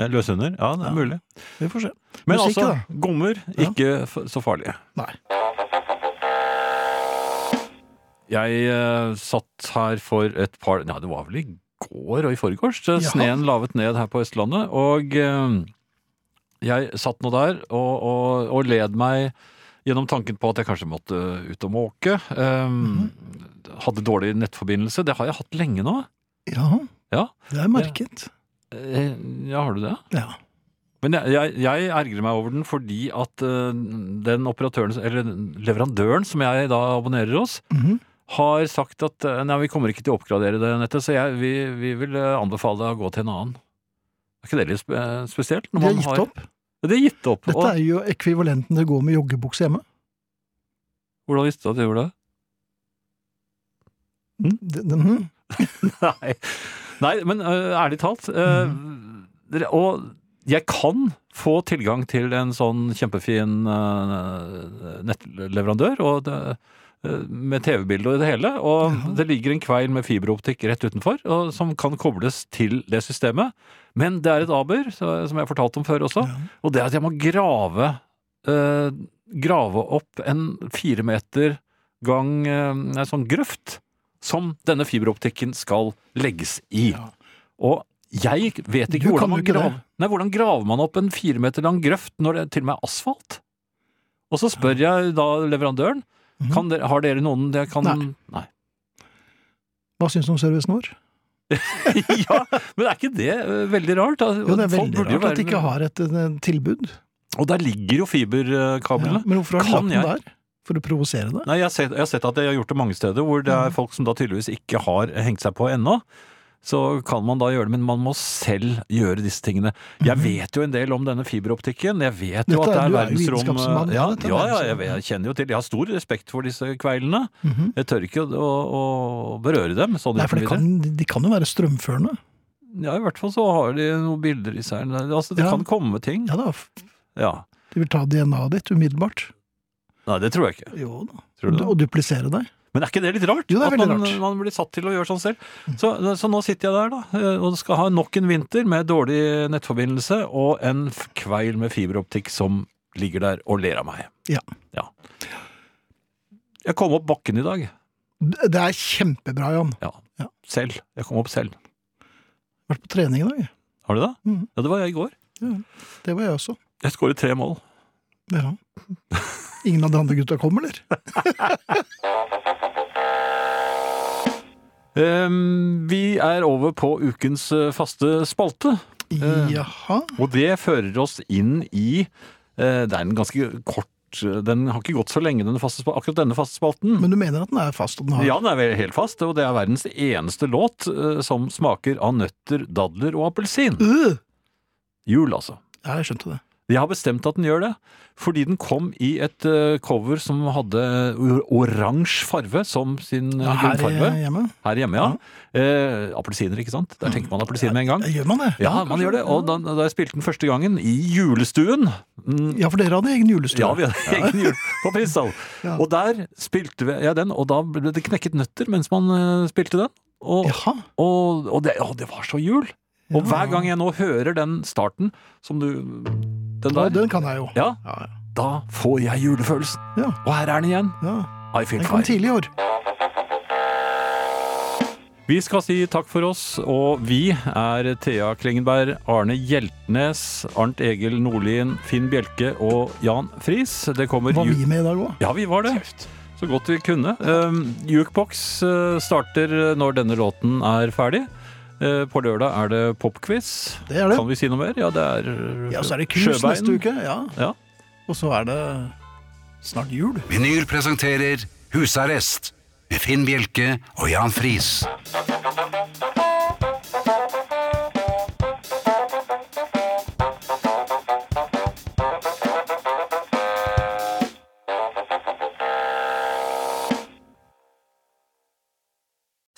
[SPEAKER 4] ja, løshunder. Ja, det
[SPEAKER 3] Ja.
[SPEAKER 4] er mulig.
[SPEAKER 3] Vi får se.
[SPEAKER 4] Men
[SPEAKER 3] Musikk,
[SPEAKER 4] altså,
[SPEAKER 3] da?
[SPEAKER 4] gommer ikke f så farlige.
[SPEAKER 3] Nei.
[SPEAKER 4] Jeg eh, satt her for et par Ja, det var vel i går og i forgårs. så
[SPEAKER 3] Ja.
[SPEAKER 4] Sneen lavet ned her på Østlandet, og eh, jeg satt nå der og, og, og led meg gjennom tanken på at jeg kanskje måtte ut og måke. Eh,
[SPEAKER 3] Mhm.
[SPEAKER 4] Hadde dårlig nettforbindelse. Det har jeg hatt lenge nå.
[SPEAKER 3] Ja,
[SPEAKER 4] Ja,
[SPEAKER 3] det er merket.
[SPEAKER 4] Eh, ja har du det?
[SPEAKER 3] Ja.
[SPEAKER 4] Men jeg, jeg, jeg ergrer meg over den fordi at eh, den operatøren, eller den leverandøren som jeg da abonnerer hos,
[SPEAKER 3] Mhm.
[SPEAKER 4] har sagt at eh, nei, vi kommer ikke til å oppgradere det nettet, så jeg, vi, vi vil eh, anbefale deg å gå til en annen. Er ikke det litt spe spesielt?
[SPEAKER 3] De har gitt opp.
[SPEAKER 4] De har gitt opp.
[SPEAKER 3] Dette
[SPEAKER 4] Og
[SPEAKER 3] er jo ekvivalenten til å gå med joggebukse hjemme.
[SPEAKER 4] hvordan visste du at de gjorde det? Mm.
[SPEAKER 3] Det- det- mhm.
[SPEAKER 4] Nei, Nei men eh, ærlig talt eh, dere- Og jeg kan få tilgang til en sånn kjempefin eh, nettleverandør og det, eh, med TV-bilde og det hele. Og det ligger en kveil med fiberoptikk rett utenfor og, som kan kobles til det systemet. Men det er et aber, så, som jeg fortalte om før også, og det er at jeg må grave eh, Grave opp en fire meter gang eh, en sånn grøft som denne fiberoptikken skal legges i.
[SPEAKER 3] Ja.
[SPEAKER 4] Og jeg vet ikke
[SPEAKER 3] Du kan
[SPEAKER 4] hvordan
[SPEAKER 3] jo
[SPEAKER 4] man
[SPEAKER 3] ikke det.
[SPEAKER 4] graver Nei, hvordan graver man opp en fire meter lang grøft når det til og med er asfalt? Og så spør jeg da leverandøren
[SPEAKER 3] Mhm.
[SPEAKER 4] kan dere, Har dere noen jeg kan
[SPEAKER 3] Nei.
[SPEAKER 4] Nei.
[SPEAKER 3] Hva syns du om servicen vår?
[SPEAKER 4] ja, men er ikke det eh, veldig rart? Altså,
[SPEAKER 3] Jo, det er
[SPEAKER 4] folk
[SPEAKER 3] veldig
[SPEAKER 4] burde jo
[SPEAKER 3] rart at de
[SPEAKER 4] være-
[SPEAKER 3] ikke har et eh, tilbud.
[SPEAKER 4] Og der ligger jo
[SPEAKER 3] Ja.
[SPEAKER 4] fiberkablene.
[SPEAKER 3] Men hvorfor har de
[SPEAKER 4] Kan
[SPEAKER 3] lagt den der? For å provosere det?
[SPEAKER 4] Nei, jeg har, sett, jeg har sett at jeg har gjort det mange steder hvor det
[SPEAKER 3] Mm.
[SPEAKER 4] er folk som da tydeligvis ikke har hengt seg på ennå. Så kan man da gjøre det, men man må selv gjøre disse tingene. Jeg vet jo en del om denne fiberoptikken. Jeg vet jo
[SPEAKER 3] Mm.
[SPEAKER 4] at det
[SPEAKER 3] Dette er-
[SPEAKER 4] er
[SPEAKER 3] du er jo
[SPEAKER 4] verdensrom Ja,
[SPEAKER 3] vitenskapsmann, ja, dette er
[SPEAKER 4] ja, ja jeg,
[SPEAKER 3] verdensrom.
[SPEAKER 4] jeg kjenner jo til Jeg har stor respekt for disse kveilene.
[SPEAKER 3] Mhm.
[SPEAKER 4] Jeg tør ikke å, å, å berøre dem. Sånn
[SPEAKER 3] Nei, for
[SPEAKER 4] uten videre.
[SPEAKER 3] det kan, de kan jo være strømførende.
[SPEAKER 4] Ja, I hvert fall så har de noen bilder i seg. Altså, det
[SPEAKER 3] Ja.
[SPEAKER 4] kan komme ting.
[SPEAKER 3] Ja da,
[SPEAKER 4] Ja.
[SPEAKER 3] de vil ta DNA-et ditt umiddelbart.
[SPEAKER 4] Nei, det tror jeg ikke.
[SPEAKER 3] Jo da.
[SPEAKER 4] Tror du det?
[SPEAKER 3] Og duplisere deg.
[SPEAKER 4] Men er ikke det litt rart?
[SPEAKER 3] Jo, det er
[SPEAKER 4] at
[SPEAKER 3] veldig
[SPEAKER 4] man,
[SPEAKER 3] rart.
[SPEAKER 4] man blir satt til å gjøre sånn selv. Så, så nå sitter jeg der, da, eh, og skal ha nok en vinter med dårlig nettforbindelse og en f- kveil med fiberoptikk som ligger der og ler av meg.
[SPEAKER 3] Ja.
[SPEAKER 4] Jeg kom opp bakken i dag.
[SPEAKER 3] Det det er kjempebra, Jan.
[SPEAKER 4] Ja.
[SPEAKER 3] Ja.
[SPEAKER 4] Selv. Jeg kom opp selv.
[SPEAKER 3] Vært på trening i dag.
[SPEAKER 4] Har du det?
[SPEAKER 3] Mhm.
[SPEAKER 4] Ja, det var jeg i går.
[SPEAKER 3] Det var jeg også.
[SPEAKER 4] Jeg skåret tre mål.
[SPEAKER 3] Ja. Ingen av de andre gutta kom, eller?
[SPEAKER 4] Ehm, vi er over på ukens eh, faste spalte. Eh.
[SPEAKER 3] Jaha.
[SPEAKER 4] Og det fører oss inn i eh, Det er en ganske kort eh, Den har ikke gått så lenge, denne faste, spa- akkurat denne faste spalten.
[SPEAKER 3] Men du mener at den er fast, og den har
[SPEAKER 4] ja, den er vel helt fast, og det er verdens eneste låt eh, som smaker av nøtter, dadler og appelsin.
[SPEAKER 3] Øh!
[SPEAKER 4] Jul, altså.
[SPEAKER 3] Ja, jeg skjønte det.
[SPEAKER 4] Jeg har bestemt at den gjør det, fordi den kom i et eh, cover som hadde or- oransje farve som sin eh,
[SPEAKER 3] Her
[SPEAKER 4] grunnfarve.
[SPEAKER 3] eh, hjemme.
[SPEAKER 4] Her hjemme, ja. Eh, appelsiner, ikke sant? Der tenker man appelsin med en gang.
[SPEAKER 3] Gjør man det?
[SPEAKER 4] Ja, man
[SPEAKER 3] kanskje.
[SPEAKER 4] gjør det. Og da, da jeg spilte den første gangen, i julestuen mm,
[SPEAKER 3] Ja, for dere hadde egen julestue.
[SPEAKER 4] Ja, vi hadde egen jul på Prinsdal.
[SPEAKER 3] Ja.
[SPEAKER 4] Og der spilte vi- jeg den, og da ble det knekket nøtter mens man eh, spilte den. Og,
[SPEAKER 3] Jaha.
[SPEAKER 4] og, og det, å, det var så jul! Og
[SPEAKER 3] Ja.
[SPEAKER 4] hver gang jeg nå hører den starten som du Den
[SPEAKER 3] Ja,
[SPEAKER 4] der,
[SPEAKER 3] den kan jeg jo.
[SPEAKER 4] ja,
[SPEAKER 3] Ja,
[SPEAKER 4] da får jeg julefølelsen.
[SPEAKER 3] Ja.
[SPEAKER 4] Og her er den igjen.
[SPEAKER 3] ja.
[SPEAKER 4] I feel
[SPEAKER 3] Den kom
[SPEAKER 4] fine.
[SPEAKER 3] tidlig i år.
[SPEAKER 4] Vi skal si takk for oss, og vi er Thea Klingenberg, Arne Hjeltnes, Arnt Egil Nordlien, Finn Bjelke og Jan Friis. Det kommer
[SPEAKER 3] Var
[SPEAKER 4] ju-
[SPEAKER 3] vi med i dag òg?
[SPEAKER 4] Ja, vi var det. Så godt vi kunne. Um, Jukebox eh, starter når denne låten er ferdig. Eh, på lørdag er det popquiz.
[SPEAKER 3] Det er det.
[SPEAKER 4] Kan vi si noe mer? Ja, det er eh,
[SPEAKER 3] Ja, så er det kurs
[SPEAKER 4] Sjøbein.
[SPEAKER 3] neste uke. Ja.
[SPEAKER 4] Ja.
[SPEAKER 3] Og så er det snart jul.
[SPEAKER 2] Vinyl presenterer Husarrest med Finn Bjelke og Jan Friis.